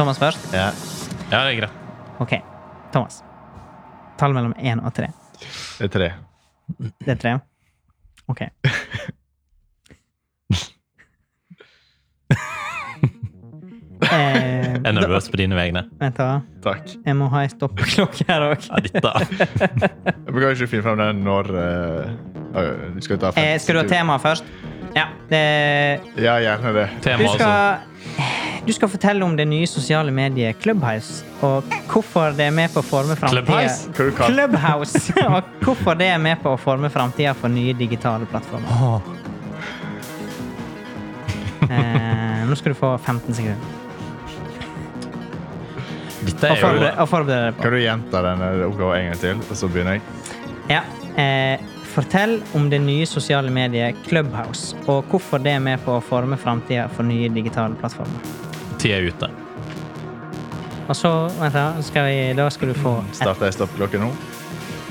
Thomas først? Ja. ja, det er greit. OK. Thomas. Tall mellom én og tre. Det er tre. Det er tre. OK. eh, Jeg er nervøs på dine vegne. vent, da. Takk. Jeg må ha ei stoppeklokke her òg. Ja, dette. Jeg kan ikke finne frem den når eh, øh, Du skal ta fem. Eh, skal du ha temaet først? Ja. Det, Ja, gjerne det. Tema, du, altså. skal, du skal fortelle om det nye sosiale mediet Clubhouse, og hvorfor det er med på å forme Clubhouse? framtida Hva du kan. Clubhouse! Og hvorfor det er med på å forme framtida for nye digitale plattformer. Åh. Eh, nå skal du få 15 sekunder Dette er å jo forberede, å forberede deg på. Kan du gjenta den eh, oppgaven en gang til, og så begynner jeg? Ja. Eh, fortell om det nye sosiale mediet Clubhouse, og hvorfor det er med på å forme framtida for nye digitale plattformer. Tida er ute. Og så, vent da, skal vi, da skal du få ett, Starter jeg stoppklokka nå?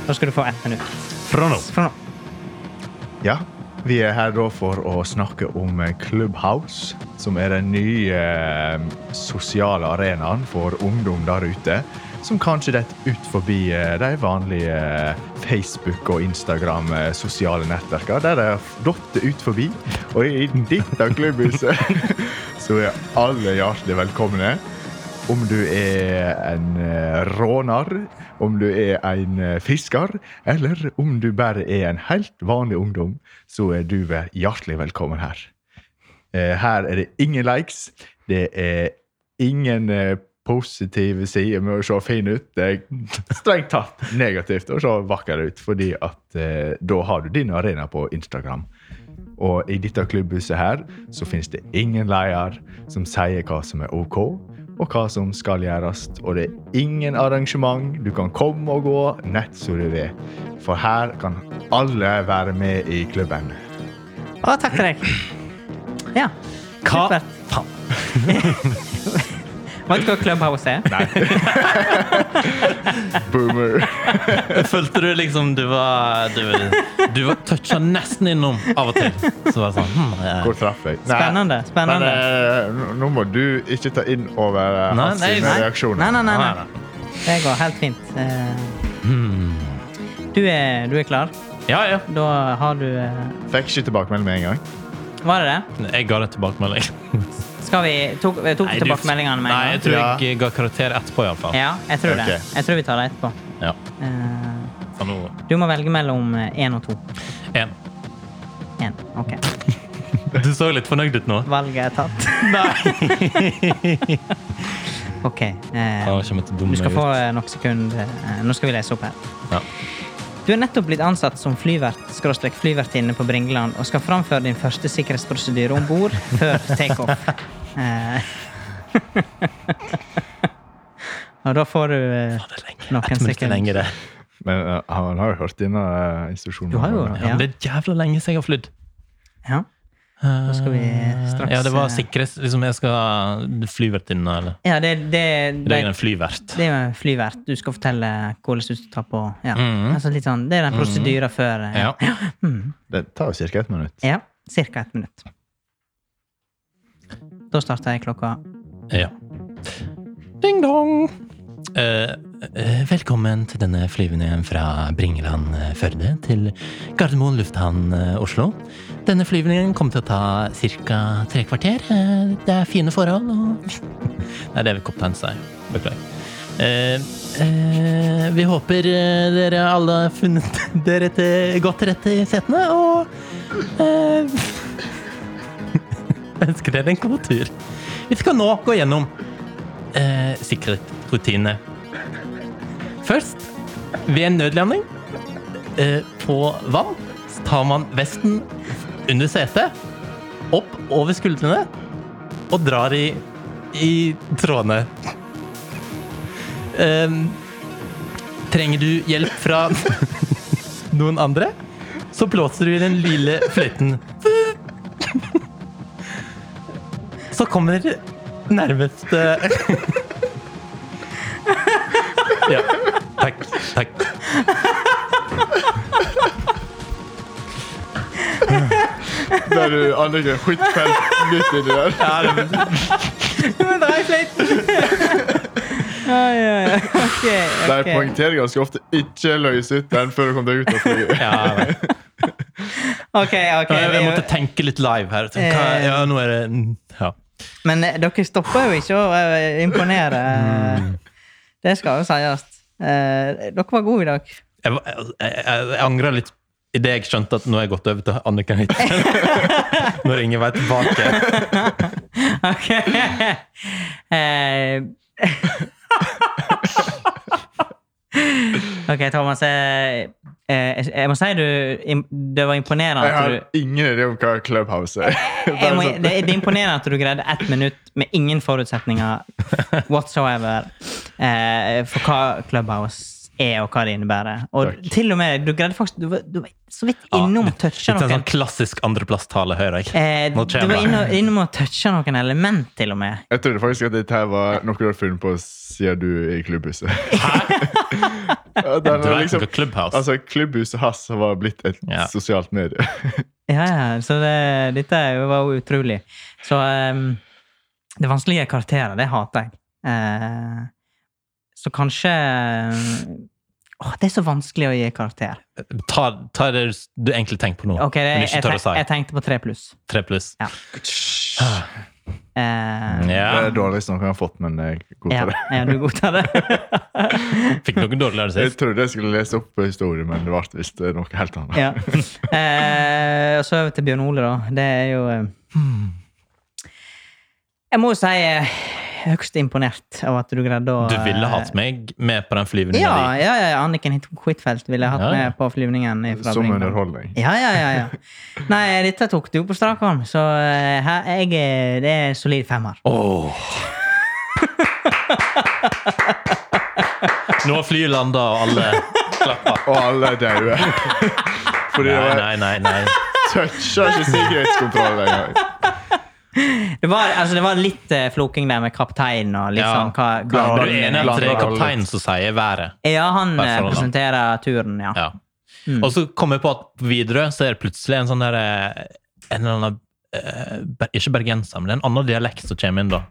da skal du få ett minutt. Fra nå. Fra nå. Ja. Vi er her da for å snakke om eh, Clubhouse, som er den nye eh, sosiale arenaen for ungdom der ute. Som kanskje detter ut forbi eh, de vanlige eh, Facebook- og Instagram-sosiale nettverkene. Der de har datt ut forbi. Og i dette klubbhuset så er alle hjertelig velkomne. Om du er en eh, råner, om du er en eh, fisker, eller om du bare er en helt vanlig ungdom, så er du vel hjertelig velkommen her. Eh, Her er det ingen likes. Det er ingen eh, positive sider med å se fin ut. Det er strengt tatt negativt å se vakker ut, fordi at eh, da har du din arena på Instagram. Og i dette klubbhuset her så finnes det ingen leier som sier hva som er OK, og hva som skal gjøres. Og det er ingen arrangement. Du kan komme og gå nett som du vil. For her kan alle være med i klubben. Å, takk til deg. Ja. Hva Supert. faen? Vet du hva Clubhouse er? Nei. Boomer. Følte du liksom du var Du, du var toucha nesten innom av og til. Så var det sånn hm, ja. Hvor traff jeg? Nei. Spennende. Men spennende. eh, nå- nå må du ikke ta inn over eh, Nei, hans nei, sine nei. reaksjoner. Nei, nei, nei. Nei, nei. nei. Det går helt fint. Eh, Du er, du er klar? Ja, ja. Da har du eh, Fikk ikke tilbakemelding med en gang. Var det det? Jeg ga deg tilbakemelding. Skal vi Tok, eh, tok Nei, du- vi tilbakemeldingene med Nei, en jeg gang? tror Ja. jeg ga karakter etterpå, iallfall. Ja, jeg tror det. Ok. Jeg tror vi tar det etterpå. Ja. Eh, Så nå Du må velge mellom eh, én og to. en. Én. OK. Du så litt fornøyd ut nå. Valget er tatt. Nei! OK. eh, Jeg kommer til å dumme Du skal meg få ut. eh, noen sekunder. eh, Nå skal vi lese opp her. Ja. Du er nettopp blitt ansatt som flyvert skråstrek flyvertinne på Bringeland og skal framføre din første sikkerhetsprosedyre om bord før takeoff. Eh. og da får du eh, Det er lenge. Noen Ett minutt er sekunder. lenge, det. Men eh, han har jo hørt denne eh, instruksjonen. Du har jo- Ja. Ja, Ja. men Det er jævla lenge siden jeg har flydd. Ja. Da skal vi straks Ja, det var eh, sikkerhet. Liksom, jeg skal flyvertinne, eller Ja, det, det, Det det, er en flyvert. det er jo en flyvert. Du skal fortelle hvordan du skal ta på ja. Mhm. altså litt sånn, Det er den prosedyra før eh, Ja. Det tar jo ca. ett minutt. ja. Cirka ett minutt. Da starter jeg klokka ja. Ding dong! Eh, eh, velkommen til denne flyvningen fra Bringeland eh, Førde til Gardermoen lufthavn eh, Oslo. Denne flyvningen kommer til å ta ca. tre kvarter. Eh, det er fine forhold og Nei, det er vel kaptein Stein. Beklager. Eh, eh, vi håper eh, dere alle har funnet dere til godt til rette i setene, og eh, ønsker dere en god tur. Vi skal nå gå gjennom eh, sikkerhetsrutine. Først, ved en nødlanding eh, på vann, så tar man vesten under setet, opp over skuldrene, og drar i, i trådene. Em, trenger du hjelp fra noen andre, så blåser du i den lille fløyten. Så kommer nærmeste eh, ja. Takk. Takk. Der du, Anniken, skittfelt midt inni der. Dra i fløyten! Oi, oi, oi. Ok. De ok. poengterer ganske ofte 'ikke løs ut den før du kommer deg ut av flyet'. Ja, jeg vet. Ok, ok. jeg, jeg måtte vi- Eh. tenke litt live her. Hva, ja, nå er det ja. Men eh, dere stopper jo ikke å eh, imponere. Mm. Det skal jo sies. Eh, Dere var gode i dag. Jeg, var- jeg, jeg, jeg angrer litt idet jeg skjønte at nå har jeg gått over til Anniken Huitfeldt. Når ingen vei tilbake. Ok. Eh, ok, Thomas. Jeg, jeg, jeg må si du im- Det var imponerende Jeg at har du ingen idé om hva Clubhouse er. sånn- jeg må, det, det er imponerende at du greide ett minutt med ingen forutsetninger whatsoever eh, for hva Clubhouse er, og hva det innebærer. Og Takk. til og med, du greide faktisk Du var, du var så vidt innom å touche Litt en noen sånn klassisk andreplasstale, hører jeg. eh, Nå Du kommer var jeg. innom, innom å touche noen element, til og med. Jeg trodde faktisk at dette her var noe du hadde funnet på siden du er i klubbhuset. Ja, Du den var er liksom, på Clubhouse. altså, klubbhuset hans var blitt et Ja. sosialt medie. Ja, ja, så det, dette er jo- var jo utrolig. Så ehm, det vanskelige karakterer, det hater jeg. Eh, så kanskje ehm, Åh, det er så vanskelig å gi karakter. ta, ta det du egentlig tenker på nå. Ok, det, men jeg, ikke tør å tenk- si. jeg tenkte på tre pluss. Tre pluss. Eh, Det Ja. er dårligst noe jeg har fått, men jeg ja, godtar det. ja, du godtar det? Fikk noe dårligere Jeg sist. trodde jeg skulle lese opp historien, men det ble visst noe helt annet. ja. Eh, og så over til Bjørn Ole, da. Det er jo eh, Jeg må jo si eh, høyst imponert av at du greide å Du ville eh, hatt meg med på den flyvningen. Ja, ja, ja, Anniken Hit- Huitfeldt ville jeg hatt Ja, ja. med på flyvningen. Fra Som Bringeland. underholdning. Ja, ja, ja, ja. Nei, dette tok du jo på strak arm, så eh, her, jeg, eh, det er en solid femmer. Åh. Nå har flyet landa, og alle klapper. Og alle er daue. Fordi det Nei, var nei, nei. nei. toucha ikke sikkerhetskontrollen engang. Det var, altså, det var litt eh, floking der med kapteinen og litt Ja. sånn hva, Er hva Ja, du enig at det er Blander alle kapteinen som sier været? Ja, han eh, Barcelona. presenterer turen, ja. Ja. Mm. Og så kommer jeg på at på Widerøe så er det plutselig en sånn der eh, En eller annen eh, ber- Ikke bergenser, men det er en annen dialekt som kommer inn, da.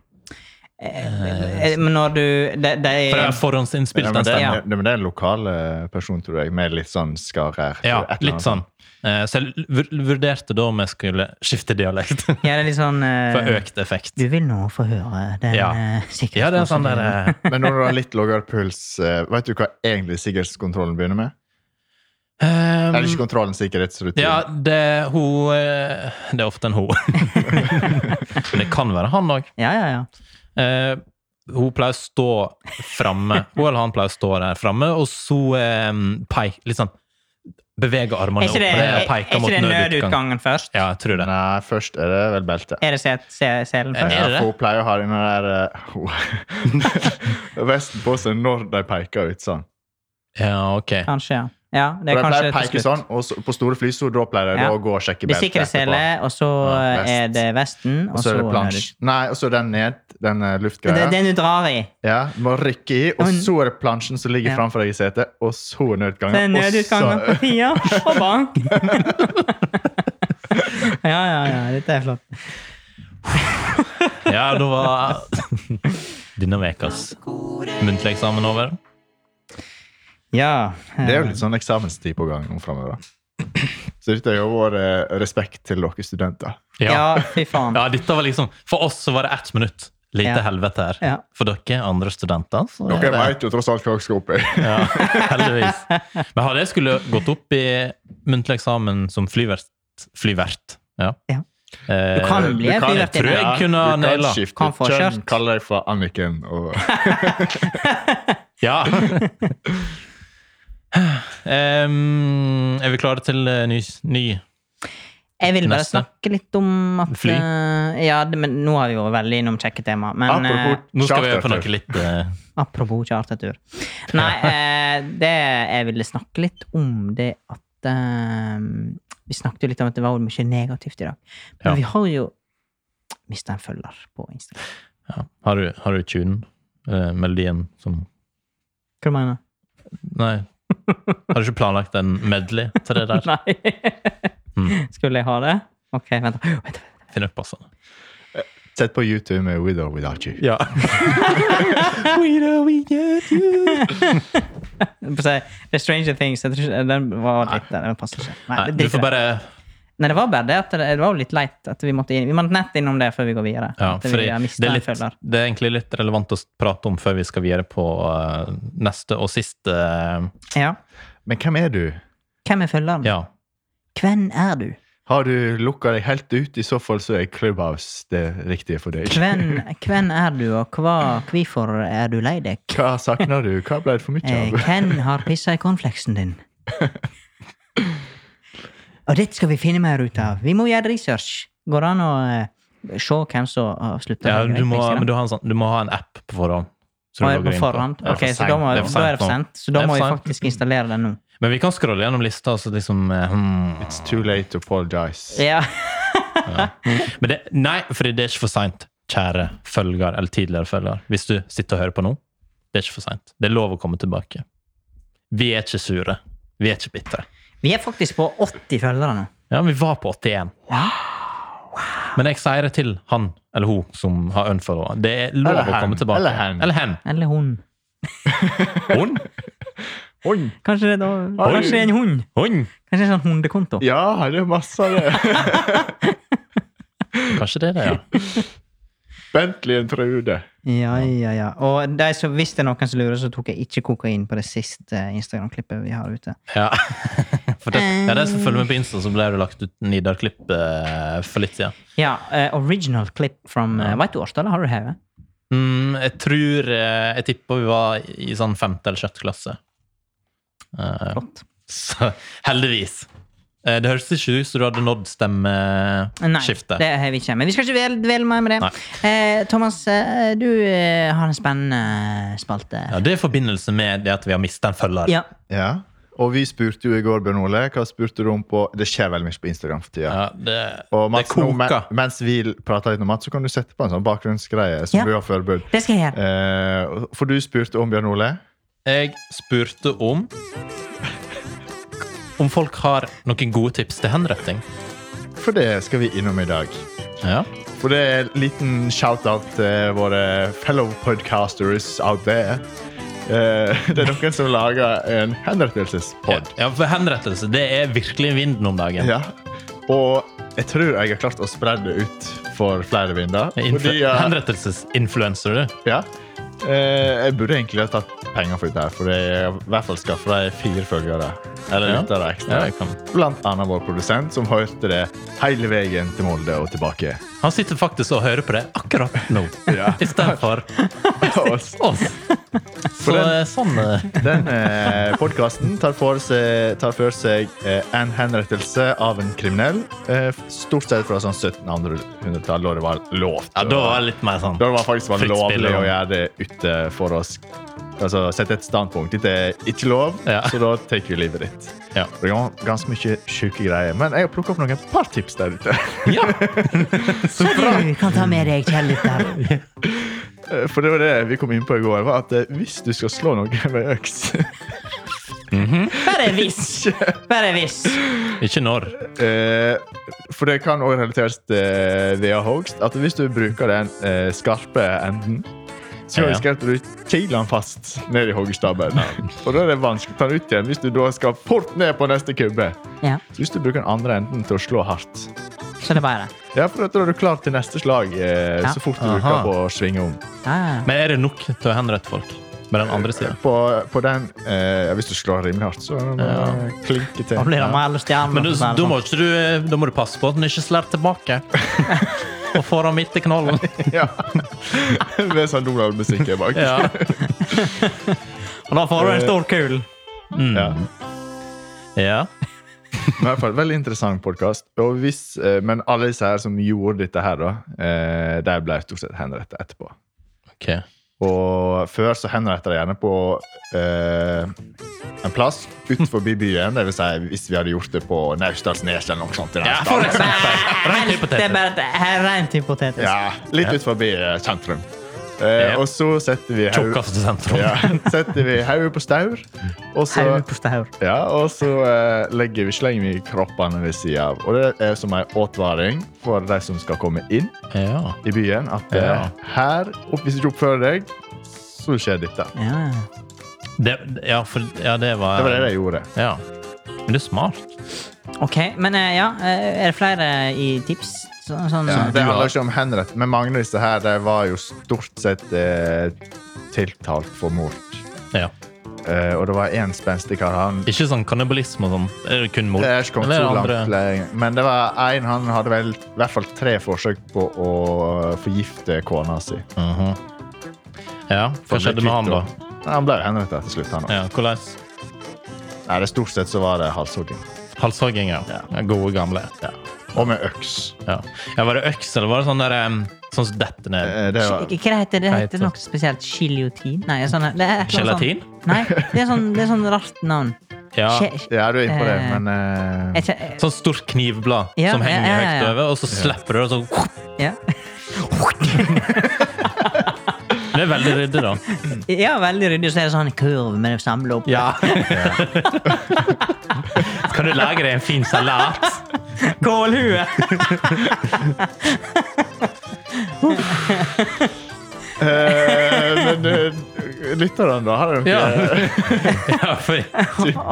Eh, Men når du de, de, For det er forhåndsinnspilt. Ja, av men, det. stemmer. det, men det er en lokal eh, person, tror jeg, med litt sånn skarrer. Ja, Et eller litt annet. sånn. Eh, Så jeg vur- vurderte da om jeg skulle skifte dialekt Ja, det er litt sånn eh, for økt effekt. Du vil nå få høre den Ja. eh, sikkerhetskontrollen. Ja, det er sånn der eh, Men når du har litt lavere puls, eh, vet du hva egentlig sikkerhetskontrollen begynner med? ehm, Eller ikke kontrollen, sikkerhetsrutinen. Ja, det, hun, eh, det er ofte en hun. Men det kan være han òg. Ja, ja, ja. Eh, hun pleier å stå framme. Hun eller han pleier å stå der framme, og så eh, peik, litt sånn Bevege armene Er ikke det, opp. er, og peker ikke mot det nødutgangen først? Ja, jeg tror det. Nei, eh, først er det vel beltet. Er det set- se- selen Er det først? Ja, det? for hun pleier å ha den der eh, vesten på seg når de peker ut sånn. Ja, ok. Kanskje, ja. ja det For de er pleier å kanskje peke til slutt. sånn, og så, på store fly så da pleier de Ja. å gå og sjekke Det er beltet. sikkerhetssele, etterpå. og så Ja, vest. er det vesten, Og så er det plansj. nødut- Nei, og så er den ned, den eh, Det luftgreia. er den du drar i. Ja, må rykke i, og Men- så er det plansjen som ligger Ja. framfor deg i setet, og så er Det er nødutgangen. og nødutgangen så- på tida og bank. ja, ja, ja. Dette er flott. Ja, da var Denne ukas God Muntlig eksamen over. Ja. eh, Det er jo litt sånn eksamenstid på gang nå framover. Så dette er jo vår eh, respekt til dere studenter. Ja, fy faen. Ja, dette var liksom, For oss så var det ett minutt. Lite Ja. helvete her. Ja. For dere andre studenter så er Dere det- vet jo tross alt hva dere skal opp i. Ja, heldigvis. Men hadde jeg skulle gått opp i muntlig eksamen som flyvert, flyvert ja. Ja. Eh, Du kan bli Du kan- flyvert tror jeg inne. Ja, kunne ha Du naila. kan skifte Kan få kjønn, kjørt. kalle deg for Anniken. Og Ja. Em, er vi klare til eh, ny, ny Jeg vil bare Neste. snakke litt om at Fly. eh, Ja, det, men nå har vi jo veldig innom kjekke tema. Men eh, apropos Nå skal vi chartertur. gjøre på noe litt eh, apropos chartertur. Nei, eh, det jeg ville snakke litt om, det at eh, Vi snakket jo litt om at det var mye negativt i dag. Men Ja. vi har jo mista en følger på Instagram. ja. Har du, har du tunen? Eh, melodien som Hva du mener Nei. Har du ikke planlagt en medley til det der? Nei. Mm. Skulle jeg ha det? Ok, vent. da. Vent, da. Finn opp passende. Sett på YouTube med With or Without You. Ja. We know we get you. Få se, The Stranger Things jeg tror ikke, Den var litt Den passer ikke. Nei, Nei, det, du driter får jeg. bare Nei, det var bare det at det, det var jo litt leit at vi måtte inn. Vi må nett innom det før vi går videre. ja, at fordi vi har mistet det, er en litt, følger. det er egentlig litt relevant å prate om før vi skal videre på eh, neste og siste eh, Ja. Men hvem er du? Hvem er følgeren? Ja. Hvem er du? Har du lukka deg helt ut? I så fall så er Clubhouse det riktige for deg. Hvem, hvem er du, og hva, hvorfor er du lei deg? Hva savner du? Hva ble det for mye Eh, av? hvem har pissa i cornflakesen din? Og dette skal vi finne mer ut av. Vi må gjøre research. Går det an å eh, se hvem som har slutta? ja du, må, men du, har en sånn, du må ha en app på forhånd. som du logger på inn på. forhånd? Ja, Ok, for så da, må, sent. da er det for nå. sent. Så da Det er må for vi sent. faktisk installere den nå. Men vi kan scrolle gjennom lista. Så liksom, eh, hmm. It's too late to apologize. Ja. Men det, nei, for det er ikke for seint, kjære følger eller tidligere følger. Hvis du sitter og hører på nå, det er ikke for seint. Det er lov å komme tilbake. Vi er ikke sure. Vi er ikke bitre. Vi er faktisk på 80 følgere nå. Ja, vi var på 81. Men jeg sier det til han eller hun som har unfollowa. Det er lov Eller å hen, komme tilbake. eller hen. Eller hen. Eller hun. Hun? Oi. Kanskje det er da Oi. Kanskje det er en hund? Hun? Kanskje det er en sånn hundekonto? Ja, det er masse av det. Kanskje det er det, ja. Bentleyen Trude. Ja, ja, ja. Og de som, hvis det er noen som lurer, så tok jeg ikke kokain på det siste Instagram-klippet vi har ute. Ja, for det, ja, de som følger med på Insta, så ble det lagt ut Nidar-klipp eh, for litt siden. Ja, eh, original clip from uh, Veit du årstallet? Har du det her? Mm, jeg tror eh, Jeg tipper vi var i sånn femte eller sjette klasse. Eh, Flott. så heldigvis. Eh, det høres ikke ut som du hadde nådd Eh, Nei, stemmeskiftet. det har vi ikke. Men vi skal ikke dvele- dvele mer med det. Nei. Eh, Thomas, eh, du eh, har en spennende spalte. Ja, det er i forbindelse med det at vi har mista en følger. Ja. Ja. Og vi spurte jo i går, Bjørn Ole, hva spurte du om på Det skjer veldig mye på Instagram for tida. Ja, det, Og det Mats, nå, men, koker. mens vi prater litt om Mats, så kan du sette på en sånn bakgrunnsgreie som Ja. du har forberedt. Det skal jeg gjøre. Eh, for du spurte om Bjørn Ole. Jeg spurte om om folk har noen gode tips til henretting. For det skal vi innom i dag. Ja. For det er en liten shout-out til våre fellow podcasters out there. Eh, det er noen som lager en henrettelsespodd. ja, for henrettelse det er virkelig vinden om dagen. Ja. Og jeg tror jeg har klart å spre det ut for flere vinder. Influ Fordi, eh, Henrettelsesinfluencer, du. ja. Eh, jeg burde egentlig ha tatt penger for dette, her, for jeg har i hvert fall skaffa deg fire følgere. Eller Ja. lyttere ekstra. Ja, jeg kan. Blant annet vår produsent, som hørte det hele veien til Molde og tilbake. Han sitter faktisk og hører på det akkurat nå. Ja. I stedet for Og oss. Så den- eh, sånn eh, Den eh, podkasten tar, for seg- tar for seg eh, en henrettelse av en kriminell. Eh, stort sett fra sånn 1700-tallet, da det var lov. Ja, da var det litt mer sånn Da det var faktisk var Fritt spill, lovlig da. å gjøre det ute for oss. Altså sette et standpunkt. Dette er ikke lov, Ja. så da tar vi livet ditt. Ja. Det var ganske mye sjuke greier, men jeg har plukka opp noen par tips der ute. ja. Så du kan ta med deg kjærligheter. Eh, For det var det vi kom inn på i går, var at eh, hvis du skal slå noen med øks Bare hvis. Bare hvis. Ikke når. Eh, for det kan òg relateres til via hogst. At hvis du bruker den eh, skarpe eh, enden, Så Ja. husker jeg at du kiler den fast ned i hoggestabben. Og da er det vanskelig å ta den ut igjen hvis du da skal fort ned på neste kubbe. Ja, Så hvis du bruker den andre enden til å slå hardt så det er bare Ja, for da er du klar til neste slag eh, Ja. så fort du Aha. bruker på å svinge om. ja, ja. Men er det nok til å henrette folk med den andre sida? På, på den eh, Hvis du slår rimelig hardt, så er det Ja. bare å klinke Da blir til. det mer eller stjerne. Men du, for å si da, det sånn. må ikke du, eh, da må du passe på at den ikke slår tilbake. Og får den midt i knollen. Ja. Det er sånn Donald-musikk her bak. Ja. sånn. Og da får du en stor kul. Ja. Mm. ja. Men i hvert fall, Veldig interessant podkast. eh, Men alle disse her som gjorde dette her, da, eh, de ble stort sett henrettet etterpå. Ok. Og før så henrettet de gjerne på eh, en plass utenfor byen. Det vil si, hvis vi hadde gjort det på Naustdalsnes eller noe sånt. i den Ja, for staden. eksempel. Rent Det er hypotetisk. bare det er rent hypotetisk. ja, litt utenfor eh, sentrum. Eh, Ja. Og så setter vi hau- Tjukkeste sentrum. ja, setter vi hodet på staur, og så Helvete på staur. Ja, og så eh, legger vi slenger vi kroppene ved sida av. Og det er som en advaring for de som skal komme inn Ja. i byen, at eh, Ja. her, og hvis du ikke oppfører deg, så skjer dette. Det Ja. Det, ja, for, ja, det var var det de gjorde. Ja. Men det er smart. OK, men eh, ja, eh, er det flere i tips? Så, sånn, Ja, du det handler har- ikke om henrett, men mange av disse her de var jo stort sett eh, tiltalt for mord. Ja. Eh, og det var én spenstig kar. Han Ikke sånn kannibalisme og sånn. Er det kun mord? Det er ikke kommet Eller så er det langt lenger. Men det var en han hadde vel i hvert fall tre forsøk på å forgifte kona si. Mhm. Ja, hva skjedde med han, da? Han ble jo henrettet til slutt. han også. Ja, Hvordan? Nei, det Stort sett så var det halshogging. Halshogging, ja. Ja. Gode, gamle. Ja. Og med øks. Ja. ja. Var det øks, eller var det sånn der em, Sånn som detter ned? Eh, Det var, Sk- Hva heter det? Det Hva heter heter noe spesielt giljotin? Nei, sånn, det er et eller annet Gelatin? Sånn, nei, det er sånn, det er sånn rart navn. Ja. Skje- ja, du er inne på det, Eh, men eh, jeg kje- Sånn stort knivblad Ja, som ja, henger ja, ja, høyt ja. over, og så slipper du det, og så ja. Det er veldig ryddig, da. ja, veldig ryddig. Så er det sånn kurv med det samla opp. Ja. kan du lage deg en fin salat? Kålhue! eh, Men eh, lytterne, da? Har de Ja. noe? ja, for,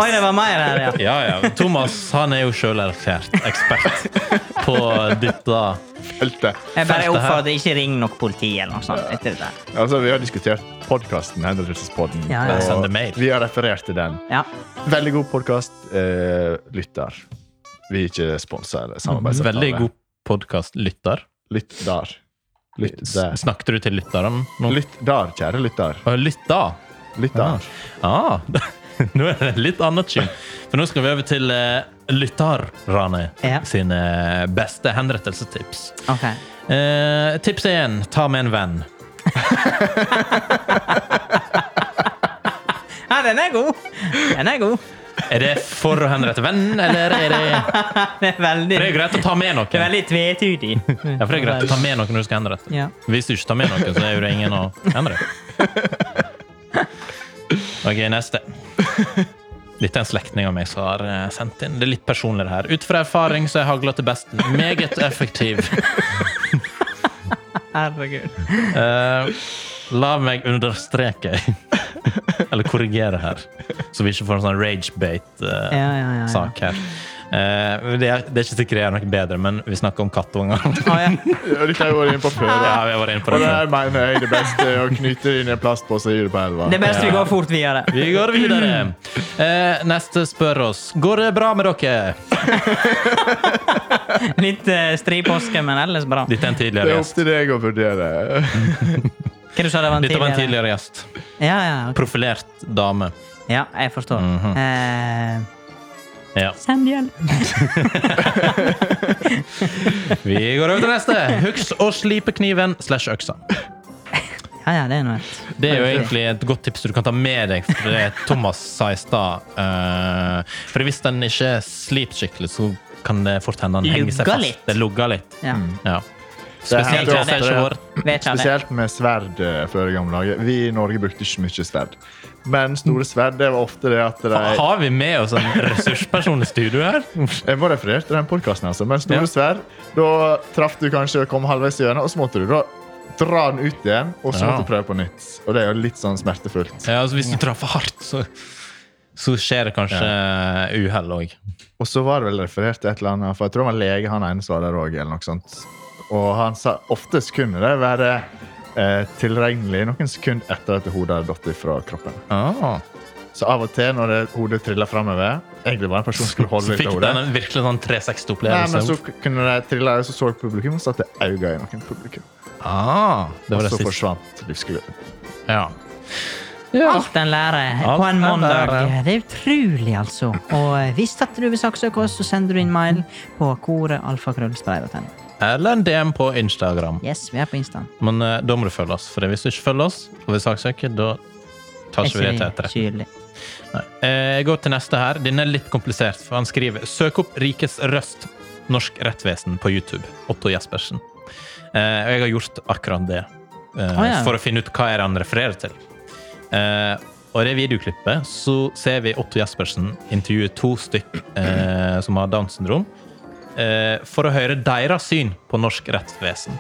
Oi, det var mer her, ja. ja, ja. Thomas han er jo sjøl erklært ekspert på dette. feltet? Jeg bare Feltet her. oppfordrer ikke ring nok politi eller noe sånt. etter det der. Altså, vi har diskutert podkasten, Hendelsespodden, Ja, ja. Send det mail. og vi har referert til den. Ja. Veldig god podkast. Eh, lytter. Vi er ikke sponsa eller samarbeidsavtale. Veldig god podkast-lytter. Lytt der. Lytt der. Snakket du til lytteren nå? Lytt der, kjære lytter. Å, Lytt da! Lytt der. Ah, nå er det litt annet skinn. For nå skal vi over til uh, lytterne Ja. sine eh, beste henrettelsestips. Ok. Eh, tips én ta med en venn. Ja, den er god! Den er god. Er det for å henrette vennen, eller er det Det er veldig, For det er greit å ta med noen. det er veldig tvetydig. Ja, for det er greit å ta med noen når du skal henrette. Ja. Hvis du ikke tar med noen, så er jo det ingen å henrette. Ok, neste. Dette er en slektning av meg som har eh, sendt inn. Det er litt personlig, det her. Ut fra erfaring så er hagla til besten meget effektiv. Herregud. Eh, la meg understreke, eller korrigere her, så vi ikke får en sånn Ja, ja, ja. ja. rage-bate-sak her. Eh, det, er, det er ikke sikkert jeg er noe bedre, men vi snakker om kattunger. Å, Ah, ja. Ja, Dette har jeg vært inne på før. ja, da. vi var inne på Og det. det før. her mener jeg er det beste. Å knyte det inn i en plastpose og gi det på elva. Det er best vi går fort videre. Vi går videre. Eh, neste spør oss Går det bra med dere. Litt uh, stri påske, men ellers bra. Dette er en Det tidligere er opp gjest. til deg å vurdere. Hva du sa det var en Dette var en tidligere? tidligere gjest. Ja, ja, ok. Profilert dame. ja, jeg forstår. Mhm. Eh, Ja. send hjelp. Vi går over til neste. Husk å slipe kniven slash øksa. Ja, ja, det er noe. helt- Det er jo egentlig et godt tips du kan ta med deg, for det Thomas sa i stad. eh, for hvis den ikke sliper skikkelig, så kan det fort hende den henger seg Lugger fast. litt. Det lugger litt. Mm. Ja. Ja. Det Spesielt hvis hender det ikke ofte, har ja. vært Vet ikke alle. Spesielt med sverd eh, før i gamle dager. Vi i Norge brukte ikke så mye sverd. Men store sverd det var ofte det at de Har vi med oss en ressursperson i studio her? Jeg må referere til den podkasten, altså. Men Ja. store sverd, da traff du kanskje og kom halvveis gjennom, og så måtte du da dra den ut igjen, og så Ja. måtte jeg prøve på nytt. Og det er jo litt sånn smertefullt. Ja, altså, hvis du treffer hardt, så, så skjer det kanskje eh, uhell òg. Og så var det vel referert til et eller annet, for jeg tror det var lege han ene som var der òg, eller noe sånt. Og han sa oftest kunne det være eh, tilregnelig noen sekunder etter at hodet hadde falt fra kroppen. Ah. Så av og til når det, hodet triller framover Egentlig bare en person som skulle holde Så litt fikk av hodet. den en virkelig sånn Nei, men 360-opplevelse. så kunne det trille, så så publikum, og så satte jeg øynene i noen publikum. Ah, det var Og det så siste. forsvant livsgløden. Ja. Alt en lærer Alt på en en mandag. lærer. Det er utrolig, altså. Og eh, hvis at du vil saksøke oss, så sender du inn mail på koretalfakrøllstreir.no. Eller en DM på Instagram. Yes, vi er på Instaen. Men eh, da må du følge oss, for hvis du ikke følger oss, og vil saksøke, da tar ikke vi det til etterretning. Kyrlig. Nei. Eh, Jeg går til neste her. Den er litt komplisert, for han skriver Søk opp Rikets Røst, norsk rettvesen, på YouTube. Otto Jespersen. Eh, Og jeg har gjort akkurat det, eh, Å, ja. for å finne ut hva er det han refererer til. Eh, Og i det videoklippet så ser vi Otto Jespersen intervjue to stykk eh, som har Downs syndrom, eh, for å høre deres syn på norsk rettsvesen.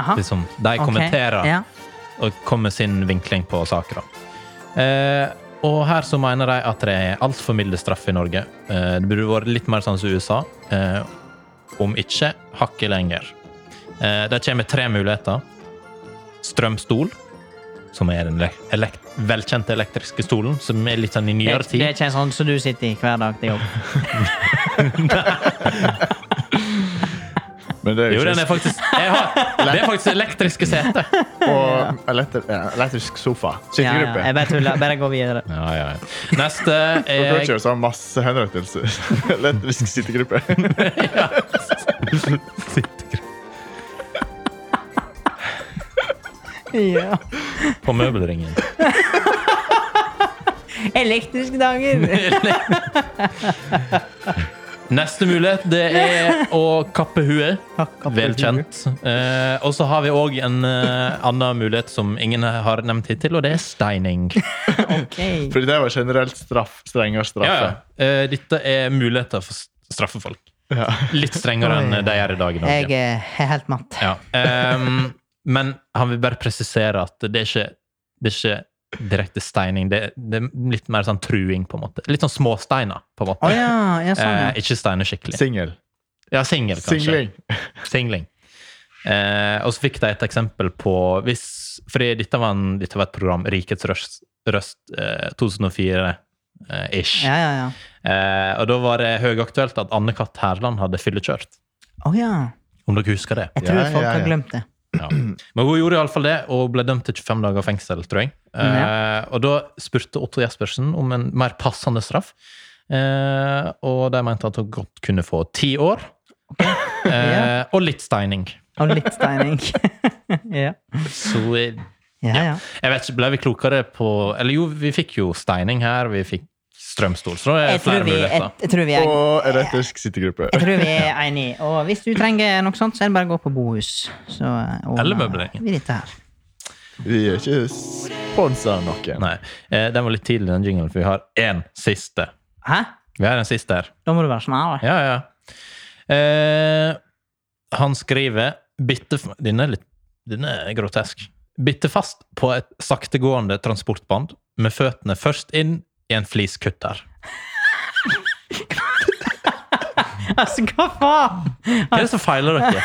Aha. Liksom, de ok. kommenterer Ja. og komme med sin vinkling på saker. da. Eh, og her så mener de at det er altfor milde straffer i Norge. Eh, det burde vært litt mer sånn som USA. Eh, om ikke hakket lenger. Eh, det kommer tre muligheter. Strømstol, som er den le- elekt velkjente elektriske stolen, som er litt sånn i Det, nyere det er tid. ikke en sånn som du sitter i hver dag til jobb. Men det er Jo, jo den er ikke faktisk jeg har, Det er faktisk elektriske seter. Og elektri- ja, elektrisk sofa. Ja, ja. Skyttergruppe. Jeg bare tuller. Bare gå videre. Ja, ja, ja. Neste Dere er har ikke sånn masse henrettelser. Elektrisk sittegruppe. Ja. på møbelringen. Elektriske dager! Neste mulighet det er å kappe huet. Kappe Velkjent. Eh, og så har vi òg en eh, annen mulighet som ingen har nevnt hittil, og det er steining. Ok. Fordi det var generelt straff. Strengere Ja, straffe. ja. Eh, dette er muligheter for å straffe folk. Litt strengere enn de gjør i dag. i Norge. Jeg eh, er helt matt. Ja. Ehm, men han vil bare presisere at det er ikke, det er ikke direkte steining. Det, er- det er litt mer sånn truing, på en måte. Litt sånn småsteiner, på en måte. Å ja, ja, sånn, ja. Eh, ikke steine skikkelig. Singel. Ja, singel, kanskje. Singling. Singling. Eh, og så fikk de et eksempel på hvis, Fordi dette var, en, dette var et program, Rikets røst, røst eh, 2004-ish. Ja, ja, ja. eh, og da var det høyaktuelt at Anne-Cath. Herland hadde fyllekjørt. Å ja. Om dere husker det. Jeg tror Ja, folk ja, har ja. glemt det. Ja. Men hun gjorde iallfall det, og ble dømt til 25 dager fengsel, tror jeg. Eh, Og da spurte Otto Jespersen om en mer passende straff, eh, og de mente at hun godt kunne få ti år. Eh, og litt steining. Og litt steining. ja. Så eh, Ja, ja. Jeg vet ikke, Ble vi klokere på Eller jo, vi fikk jo steining her, vi fikk strømstol. Så det er Jeg tror flere vi, jeg, muligheter. jeg tror vi er Og elektrisk sittegruppe. jeg tror vi er enige. Og hvis du trenger noe sånt, så er det bare å gå på Bohus. Så eh, ordner Eller møbleringen. vi dette her. Vi er ikke sponsa av noen. Nei, eh, Den var litt tidlig, den jinglen, for vi har én siste. Hæ? Vi har en siste her. Da må du være sånn, snarere. Ja, ja. Eh, han skriver bitte, Denne er litt den er grotesk. Bitte fast på et saktegående transportband med føttene først inn i en fliskutter. Altså, hva faen? Hva er det som feiler dere?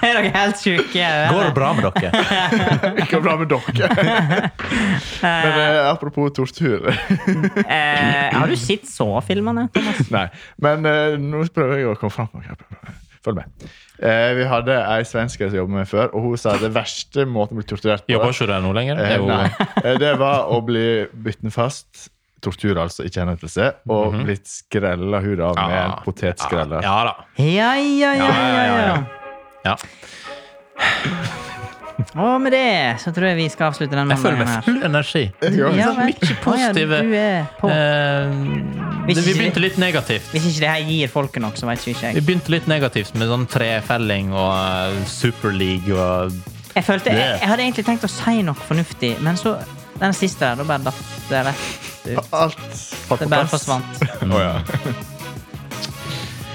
Er dere helt sjuke? Går det bra med dere? Det går bra med dere. Men eh, apropos tortur Eh, har du sett så-filmene? Thomas? Nei. Men eh, nå prøver jeg å komme fram. Jeg prøver. Følg med. Eh, vi hadde ei svenske som jobbet med før, og hun sa at det verste måten å bli torturert på Jobber ikke du der nå lenger? Det Eh, er jo- nei. Eh, Det var å bli bytten fast. Tortur, altså, ikke henrettelse. Og Mhm. blitt skrella hudet av med en Ja. potetskreller. Ja da. Ja, ja, ja, ja, ja, ja. ja. Ja. Og med det så tror jeg vi skal avslutte den Jeg føler meg mandagen her. full energi. Jeg gjør det. Ja, vel. Mye positive Å ja, du er på. Eh, Hvis det, vi ikke- begynte litt negativt. Hvis ikke det her gir folket noe, så vet ikke Vi jeg. begynte litt negativt med sånn trefelling og eh, Super League og Jeg, følte, jeg, Yeah. jeg hadde egentlig tenkt å si noe fornuftig, men så den siste der, da bare datt det rett ut. Alt falt Det på bare plass. forsvant. Å, ja.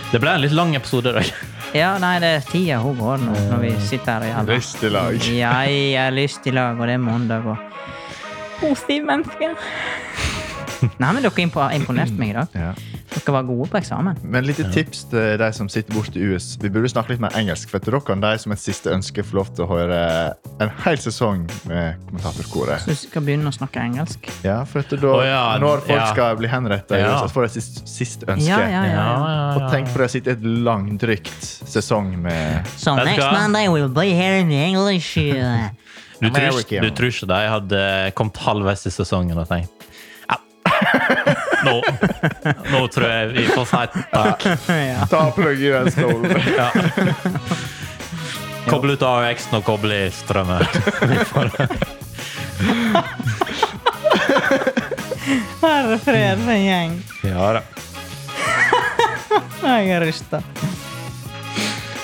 Det ble en litt lang episode. Da. Ja, nei, det er tida hun går nå, når vi sitter her og gjør det. Lyst i lag. Ja, jeg har lyst i lag, og det er mandag, og Positive mennesker. Nei, men dere impo- imponerte meg i dag. Ja. Dere var gode på eksamen. Men litt tips til de som sitter borte i US. Vi burde snakke litt mer engelsk. For da kan de som et siste ønske få lov til å høre en hel sesong med kommentatorkoret. Så du skal begynne å snakke engelsk. Ja, for at da, Å ja, Når folk ja. skal bli henrettet, Ja. så får de siste, siste ønske. Ja, ja, Ja, ja. ja, ja. ja. Og tenk på det å sitte i et langdrygt sesong med So Vet du next hva? Monday we'll be here in English. uh, Du tror, ikke- American. du tror ikke de hadde kommet halvveis i sesongen og tenkt "Au." nå, nå tror jeg vi får si takk. ja. Ta og plugg i den stolen. Ja. Koble ut AUX-en og koble i strømmen. Herre fred for en gjeng. Ja da. Jeg er rysta.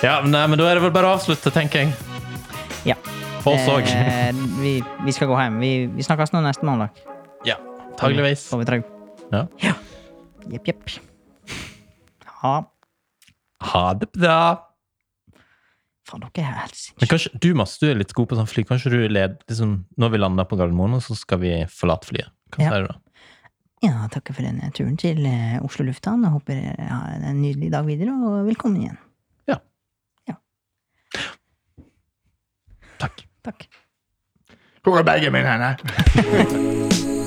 Ja, men, nei, men da er det vel bare å avslutte, tenker jeg. Ja. På oss òg. Eh, vi, vi skal gå hjem. Vi, vi snakkes nå neste mandag. Ja. Antageligvis. Får vi trau. Ja. Jepp, jepp. Ja. Ha det bra. Faen, dere er Men helt sinnssyke. kanskje, du, Mats, du er litt god på sånn fly. Kanskje du led, liksom, Når vi lander på Gardermoen, og så skal vi forlate flyet. Hva Ja. sier du da? Ja, takk for denne turen til eh, Oslo lufthavn. Jeg håper dere har en nydelig dag videre, og velkommen igjen. Takk. Takk. Hvor er bagen min hen?